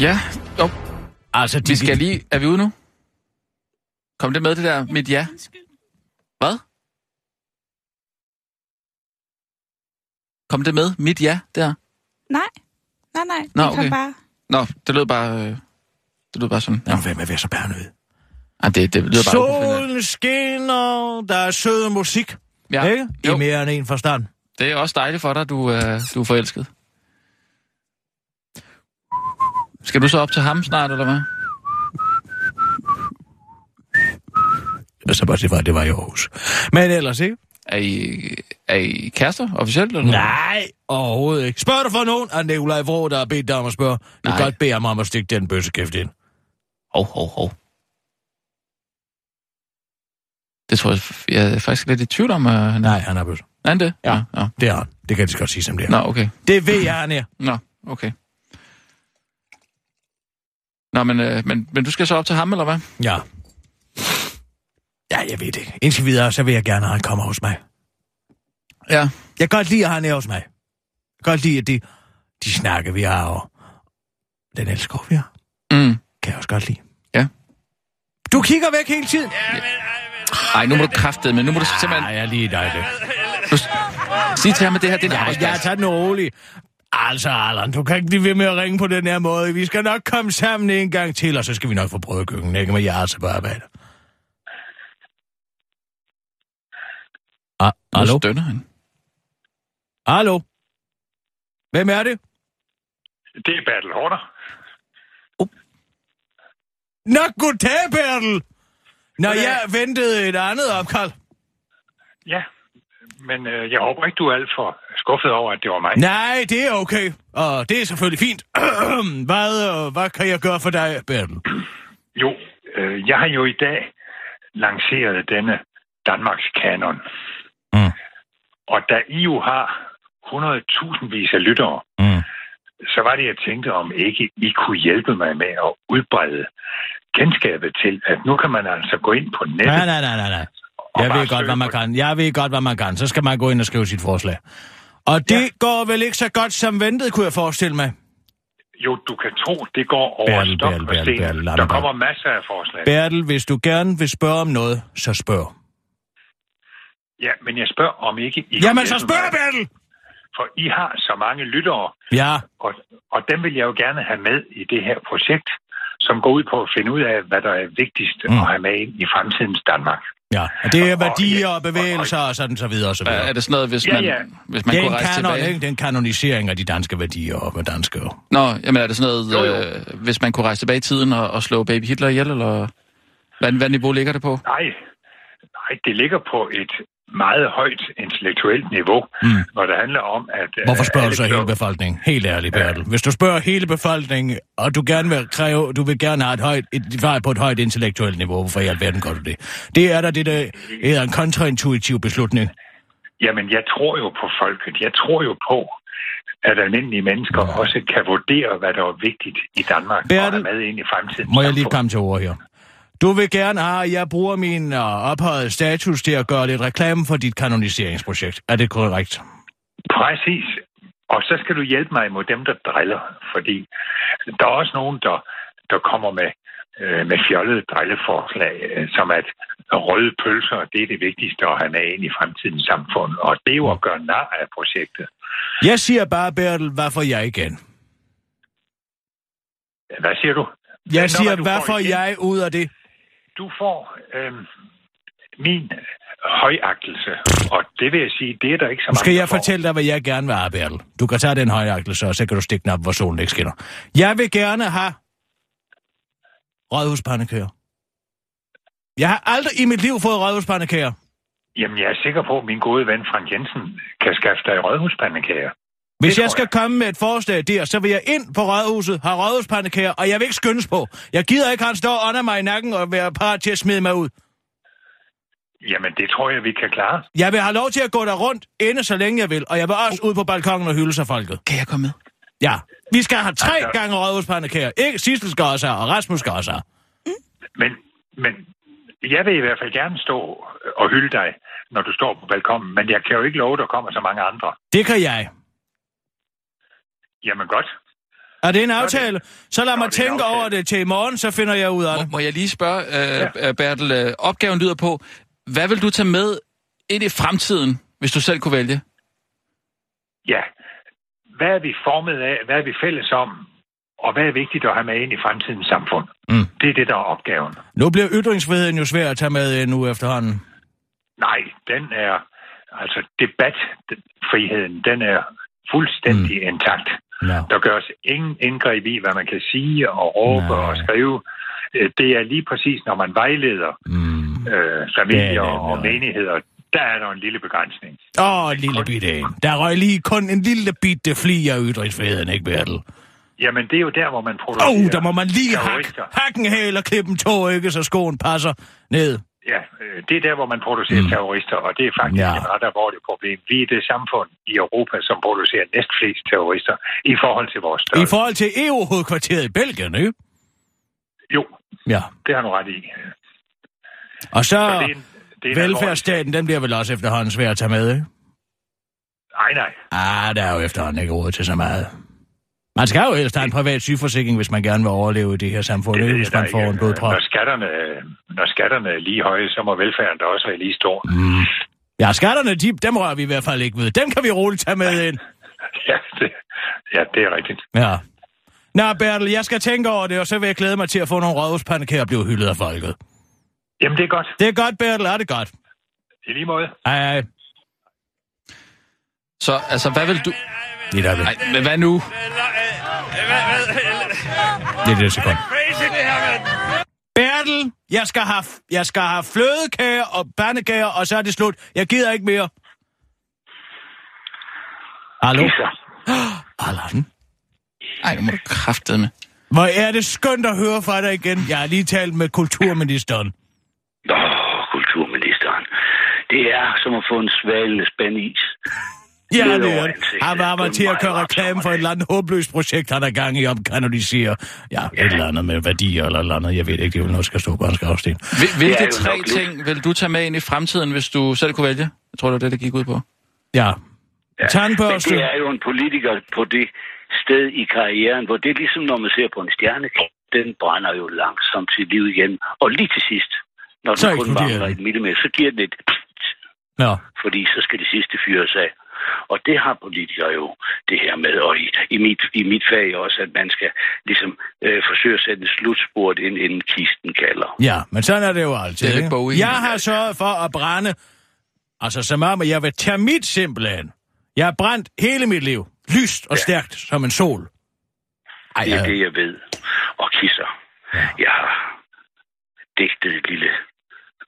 Ja, jo.
Altså,
Vi skal lige... Er vi ude nu? Kom det med, det der mit ja?
Undskyld.
Hvad? Kom det med, mit ja, der?
Nej, nej, nej.
Nå,
Nå, okay.
okay.
kom bare.
Nå, det lød bare... Øh, det lød bare sådan. Ja.
Nå, hvem er ved så bærnød?
Ej, det, det lyder bare... uprofessionelt.
Solen skinner, der er sød musik. Ja. Ikke? I
Jo,
mere end en forstand.
det er også dejligt for dig, du, øh, du er forelsket. Skal du så op til ham snart, eller hvad?
Og så bare det var, det var i Aarhus. Men ellers ikke?
Er I, er I kærester officielt? Eller?
Nej, overhovedet ikke. Spørger du for nogen? Er Nikolaj Vrå, der har bedt dig om at spørge? Du kan
Nej.
godt bede ham om at stikke den bøssekæft ind.
Hov, hov, hov. Det tror jeg, jeg er faktisk lidt i tvivl om. Øh, nej.
Nej, han er bøsse.
Er han det?
Ja.
ja.
Det er han. Det kan de så godt sige, som det er.
Nå, okay.
Det ved jeg, han er.
Nå, okay. Nå, men, øh, men, men du skal så op til ham, eller hvad?
Ja. Ja, jeg ved det ikke. Indtil videre, så vil jeg gerne, at han kommer hos mig.
Ja.
Jeg kan godt lide, at han er hos mig. Jeg kan godt lide, at de, de snakker, vi har, og den elsker vi har.
Mm.
kan jeg også godt lide.
Ja.
Du kigger væk hele tiden.
Ej, nu må du kraftede, men nu må du simpelthen...
jeg er lige dig det.
Du, sig til ham, at det her det er en
Ja, jeg
arbejdsplads.
tager den roligt. Altså, Allan, du kan ikke blive ved med at ringe på den her måde. Vi skal nok komme sammen en gang til, og så skal vi nok få prøvet køkkenet, ikke? Men jeg er altså på arbejde. Ah, hallo?
Nu stønner han.
Hallo? Hvem er det?
Det er Bertel Horner.
Nå, goddag, Bertel! Nå, jeg ventede et andet opkald.
Ja, men øh, jeg håber ikke, du er alt for skuffet over, at det var mig.
Nej, det er okay. Og det er selvfølgelig fint. <clears throat> hvad, øh, hvad kan jeg gøre for dig, Bertel?
Jo, øh, jeg har jo i dag lanceret denne Danmarks kanon.
Mm.
Og da I jo har 100.000 vis af lyttere,
Mm.
så var det, jeg tænkte, om ikke I kunne hjælpe mig med at udbrede kendskabet til, at nu kan man altså gå ind på nettet.
Nej, nej, nej, nej, nej.
og
Jeg
bare
ved godt,
søge
hvad man
på-
kan. Jeg ved godt, hvad man kan. Så skal man gå ind og skrive sit forslag. Og det ja.
Ja.
går vel ikke så godt som ventet, kunne jeg forestille mig.
Jo, du kan tro, det går over
Bertel,
stok
Bertel,
og
Bertel,
sten.
Bertel, lad
Der
mig bare-
kommer masser af forslag.
Bertel, hvis du gerne vil spørge om noget, så spørg.
Ja, men jeg spørger, om ikke I kunne
Jamen, så
hjælpe
spørg,
mig.
Bertel!
For I har så mange lyttere,
Ja,
og, og dem vil jeg jo gerne have med i det her projekt, som går ud på at finde ud af, hvad der er vigtigst
Mm.
mm. at have med ind i fremtidens Danmark.
ja. Og det er
Og-
værdier
ja,
og bevægelser og sådan så videre og så
Hvad
videre.
er det sådan noget, hvis
Ja,
man,
ja.
Hvis man
Det er
kunne
en
rejse
kanon,
tilbage?
ikke? Det er en kanonisering af de danske værdier og med danske.
Nå, jamen er det sådan noget,
Jo, jo.
Øh, hvis man kunne rejse tilbage i tiden og, og slå baby Hitler ihjel, eller hvad, hvad niveau ligger det på?
Nej, nej, det ligger på et meget højt intellektuelt niveau, mm. når det handler om, at... øh,
Hvorfor spørger du
alle
så hele
kloge-
befolkningen? Helt ærligt, Bertel. Hvis du spørger hele befolkningen, og du gerne vil kræve, du vil gerne have et højt, et, et svar på et højt intellektuelt niveau, hvorfor i alverden gør du det? Det er da det, der er en kontraintuitiv beslutning.
Jamen, jeg tror jo på folket. Jeg tror jo på, at almindelige mennesker ja. også kan vurdere, hvad der er vigtigt i Danmark
Mm. Bertel,
og er med ind i fremtiden.
Må jeg lige komme til ord her? Du vil gerne have, at jeg bruger min øh, ophøjede status til at gøre lidt reklame for dit kanoniseringsprojekt. Er det korrekt?
Præcis. Og så skal du hjælpe mig mod dem, der driller, fordi der er også nogen, der, der kommer med, øh, med fjollede drilleforslag, øh, som at røde pølser, det er det vigtigste at have med ind i fremtidens samfund. Og det er jo at gøre nar af projektet.
Jeg siger bare, Bertel, hvorfor jeg igen?
Hvad siger du?
Jeg
Nå,
siger,
hvad du får
hvorfor
igen.
jeg ud af det?
Du får øh, min højagtelse, og det vil jeg sige, det er der ikke så
Nu
mange,
skal jeg
der får.
fortælle dig, hvad jeg gerne vil have, Bertel. Du kan tage den højagtelse, og så kan du stikke den op, hvor solen ikke skinner. Jeg vil gerne have rådhuspandekager. Jeg har aldrig i mit liv fået rådhuspandekager.
Jamen, jeg er sikker på, at min gode ven Frank Jensen kan skaffe dig rødhuspandekager.
Hvis
Det
jeg
tror
skal komme med et forslag der, så vil jeg ind på rådhuset, have rådhuspandekager, og jeg vil ikke skyndes på. Jeg gider ikke, han står under mig i nakken og være parat til at smide mig ud.
Jamen, det tror jeg, vi kan klare.
Jeg vil have lov til at gå der rundt, ende så længe jeg vil, og jeg vil også ud på balkongen og hylde sig folket.
Kan jeg komme med?
Ja, vi skal have tre gange rådhuspandekager. Ikke Sissel skal også have, og Rasmus skal også have.
Men, men jeg vil i hvert fald gerne stå og hylde dig, når du står på balkongen, men jeg kan jo ikke love, at der kommer så mange andre.
Det kan jeg.
Jamen godt.
Er det en aftale? Så lad
Nå,
mig
det er en
tænke
aftale.
over det til i morgen, så finder jeg ud af
Må,
det.
må jeg lige spørge, øh, ja. Bertel, øh, opgaven lyder på, hvad vil du tage med ind i fremtiden, hvis du selv kunne vælge?
Ja. Hvad er vi formet af? Hvad er vi fælles om? Og hvad er vigtigt at have med ind i fremtidens samfund?
Mm.
Det er det, der er opgaven.
Nu bliver ytringsfriheden jo svær at tage med øh, nu efterhånden.
Nej, den er... Altså, debatfriheden, den er fuldstændig mm. intakt.
Ja.
Der gøres ingen indgreb i, hvad man kan sige og råbe
Nej.
Nej. og skrive. Øh, Det er lige præcis, når man vejleder
Mm.
øh, familier
Ja,
ja,
det er
og
noget.
menigheder, der er der en lille begrænsning.
Åh, oh, lille bitte en. Der røg lige kun en lille bitte fli af ytringsfriheden, ikke Bertel?
Jamen, det er jo der, hvor man producerer...
Åh, oh, der må man lige hakke
terrorister.
hakken hæl og klippe en tå, ikke, så skoen passer ned.
Ja, øh, det er der, hvor man producerer
Mm.
mm. terrorister, og det er faktisk
Ja.
ja. et ret alvorligt problem. Vi er det samfund i Europa, som producerer næstflest terrorister i forhold til vores
I
størrelse. For...
forhold til EU-hovedkvarteret i Belgien, ikke?
Jo,
Ja.
det har du ret i.
Og så,
Så det er en, det er en
velfærdsstaten, den bliver vel også efterhånden svær at tage med, ikke?
alvorlig- Nej, nej.
Ah, der er jo efterhånden ikke råd til så meget. Man skal jo helst have en privat sygeforsikring, hvis man gerne vil overleve i det her samfund,
ved
ikke?
jeg
hvis
da
man får
ikke.
en blodprop.
Når skatterne, øh, når skatterne er lige høje, så må velfærden da også være lige stor.
Mm. Ja, skatterne, de, dem rører vi i hvert fald ikke ved. Dem kan vi roligt tage med ind.
Ja, det, ja, det er rigtigt.
Ja. Nå, Bertel, jeg skal tænke over det, og så vil jeg glæde mig til at få nogle rådhuspandekager og blive hyldet af folket.
Jamen, det er godt.
Det er godt, Bertel, er det godt.
I lige måde.
Hej, hej.
Så altså, hvad vil du...
Lige der ved.
Nej, men hvad nu?
Lige det sekund. Bertel, jeg skal have, jeg skal have flødekager og bandekager, og så er det slut. Jeg gider ikke mere. Hallo?
Kisser.
Allan.
Nej, nu må du kraftede med.
Hvor er det skønt at høre fra dig igen. Jeg har lige talt med kulturministeren.
Nå, kulturministeren. Det er som at få en svalende spand is.
Ja,
Ned
det
over
er det.
ansigtet.
Han var mig til at køre
Meget
reklame for et
opsamlet.
eller andet håbløst projekt, han er gang i om kanoniserer. Ja, et eller andet med værdier eller et eller andet. Jeg ved ikke, det er vel noget, der skal stå på en skarvsten.
Hvil-
Det
Hvilke
er jo
tre
nok lidt.
ting vil du tage med ind i fremtiden, hvis du selv kunne vælge? Jeg tror, det var det, det gik ud på.
Ja. ja.
Men
Tandbørste.
det er jo en politiker på det sted i karrieren, hvor det er ligesom, når man ser på en stjerne, den brænder jo langsomt sit liv igen. Og lige til sidst, når
Så
den kun
eksploderer
mangler
den.
et millimeter, så giver den et
Ja.
fordi så skal de sidste fyres af. Og det har politikere jo det her med, og i, i, mit, i mit fag også, at man skal ligesom øh, forsøge at sætte en slutspurt ind, inden kisten kalder.
ja, men sådan er det jo altid.
Det er
ikke?
ikke Bowie.
Jeg har sørget for at brænde, altså som om, at jeg vil tage mit simpelthen. Jeg har brændt hele mit liv, lyst og stærkt som en sol. Ej,
Det er
jeg-
det, jeg ved. Og kisser, jeg har digtet et lille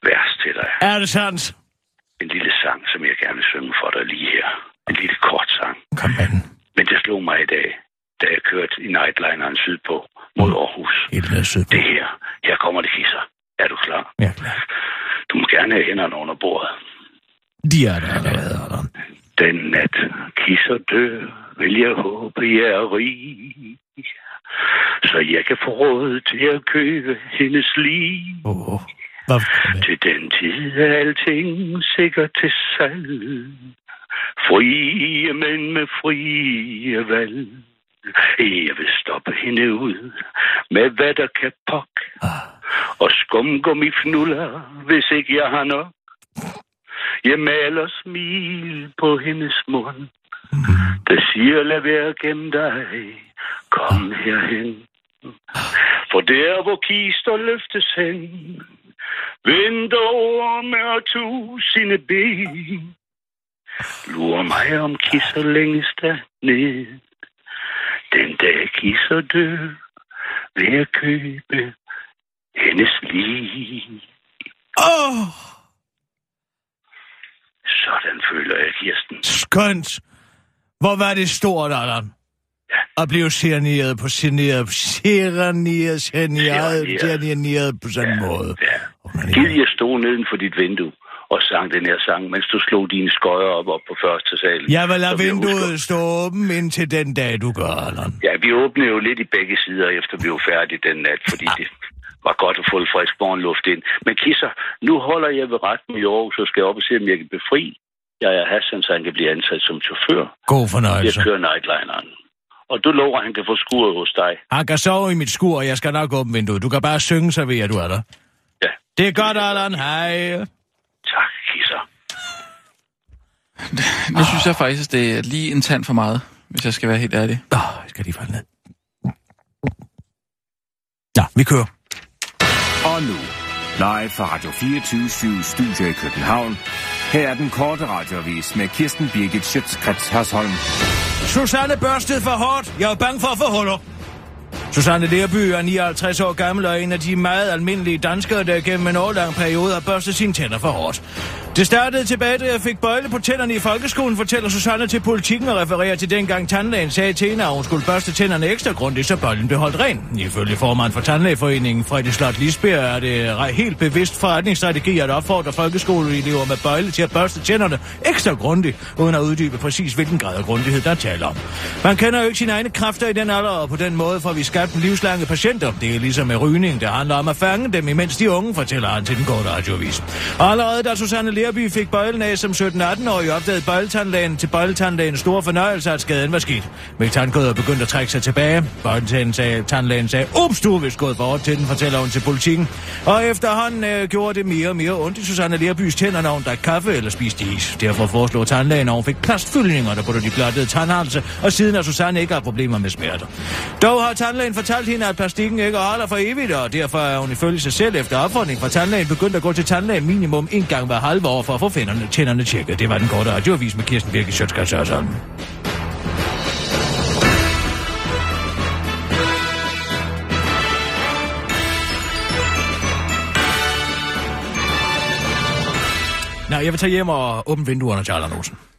vers til dig.
er det sandt?
En lille sang, som jeg gerne vil synge for dig lige her. En lille kort sang.
Kom med den.
Men det slog mig i dag, da jeg kørte i Nightlineren sydpå mod Aarhus.
Helt ned sydpå.
Det her, her kommer det kisser. Er du klar?
Ja, klar.
Du må gerne have hænderne under bordet.
De er der allerede, Allan.
Den nat kisser dør, vil jeg håbe, jeg er rig. Så jeg kan få råd til at købe hendes liv.
Åh, Hvad kom med?
Til den tid er alting sikkert til salg. Frie mænd med frie valg. Jeg vil stoppe hende ud med hvad der kan pok. Og skumgummi fnuller, hvis ikke jeg har nok. Jeg maler smil på hendes mund. Der siger, lad være gennem dig. Kom herhen. For der, hvor kister løftes hen, Vinduer med tusinde ben. Lurer mig om kisser længst ned. Den dag kisser dør, vil jeg købe hendes lige.
Åh, oh,
Sådan føler jeg, Kirsten.
skønt. Hvor var det stort, Allan? At blive sereneret på sereneret, sereneret, sereneret,
Sereneret.
sereneret på sådan en måde.
Ja.
Åh, men
Gid
ikke-
jeg stod neden for dit vindue og sang den her sang, mens du slog dine skøjer op, op på første salen.
Jeg vil lade
Som jeg
vinduet
husker.
stå åben indtil den dag, du gør, Allan.
Ja, vi åbnede jo lidt i begge sider, efter vi var færdige den nat, fordi det var godt at få lidt frisk morgenluft ind. Men kisser, nu holder jeg ved retten i Aarhus, så skal jeg op og se, om jeg kan befri. Jeg er Hassan, så han kan blive ansat som chauffør.
God
Jeg
fornøjelse.
kører nightlineren. Og du lover, at han kan få skuret hos dig.
Han kan sove Ah, i mit skur, og jeg skal nok åbne vinduet. Du kan bare synge, så ved jeg, du er der.
Ja.
Det er godt, Allan. Hej.
Tak, kisser.
Nu synes jeg faktisk, det er lige en tand for meget, hvis jeg skal være helt ærlig.
Nå, jeg skal lige falde ned. Nå, vi kører.
Og nu, live fra Radio 24 Studio i København. Her er den korte radiovis med Kirsten Birgit Schøtzgrads Hasholm.
Susanne børstede for hårdt. Jeg er bange for at få huller. Susanne Lerby er 59 år gammel og er en af de meget almindelige danskere, der gennem en årlang periode har børstet sine tænder for hårdt. Det startede tilbage, da jeg fik bøjle på tænderne i folkeskolen, fortæller Susanne til politikken og refererer til dengang tandlægen sagde til hende, at hun skulle børste tænderne ekstra grundigt, så bøjlen blev holdt ren. Ifølge formanden for Tandlægeforeningen, Fredrik Slot Lisbjerg, er det re- helt bevidst forretningsstrategi at opfordre folkeskoleelever med bøjle til at børste tænderne ekstra grundigt, uden at uddybe præcis, hvilken grad af grundighed der er tale om. Man kender jo ikke sine egne kræfter i den alder, og på den måde får vi skabt en livslange patienter. Det er ligesom med rygning, der handler om at fange dem, imens de unge, fortæller han til den korte radiovis. Og allerede da Susanne Lerby fik bøjlen af som 17-18-årig, opdagede bøjletandlægen til bøjletandlægens store fornøjelse, at skaden var sket. Med tandkødet begyndte at trække sig tilbage. Bøjletandlægen sagde, tandlægen sagde, ups, du er vist gået for hårdt til den, fortæller hun til politikken. Og efterhånden øh, gjorde det mere og mere ondt i Susanne Lerbys tænder, når hun drak kaffe eller spiste is. Derfor foreslog tandlægen, at hun fik plastfyldninger, der putter de blottede tandhalse, og siden har Susanne ikke har problemer med smerter. Dog har tandlægen tandlægen fortalte hende, at plastikken ikke holder for evigt, og derfor er hun ifølge sig selv efter opfordring fra tandlægen begyndt at gå til tandlægen minimum en gang hver halve år for at få fænderne, tænderne tjekket. Det var den korte radioavis med Kirsten Birke Sjøtskab Sørsholm. Nej, jeg vil tage hjem og åbne vinduerne, Charles Olsen.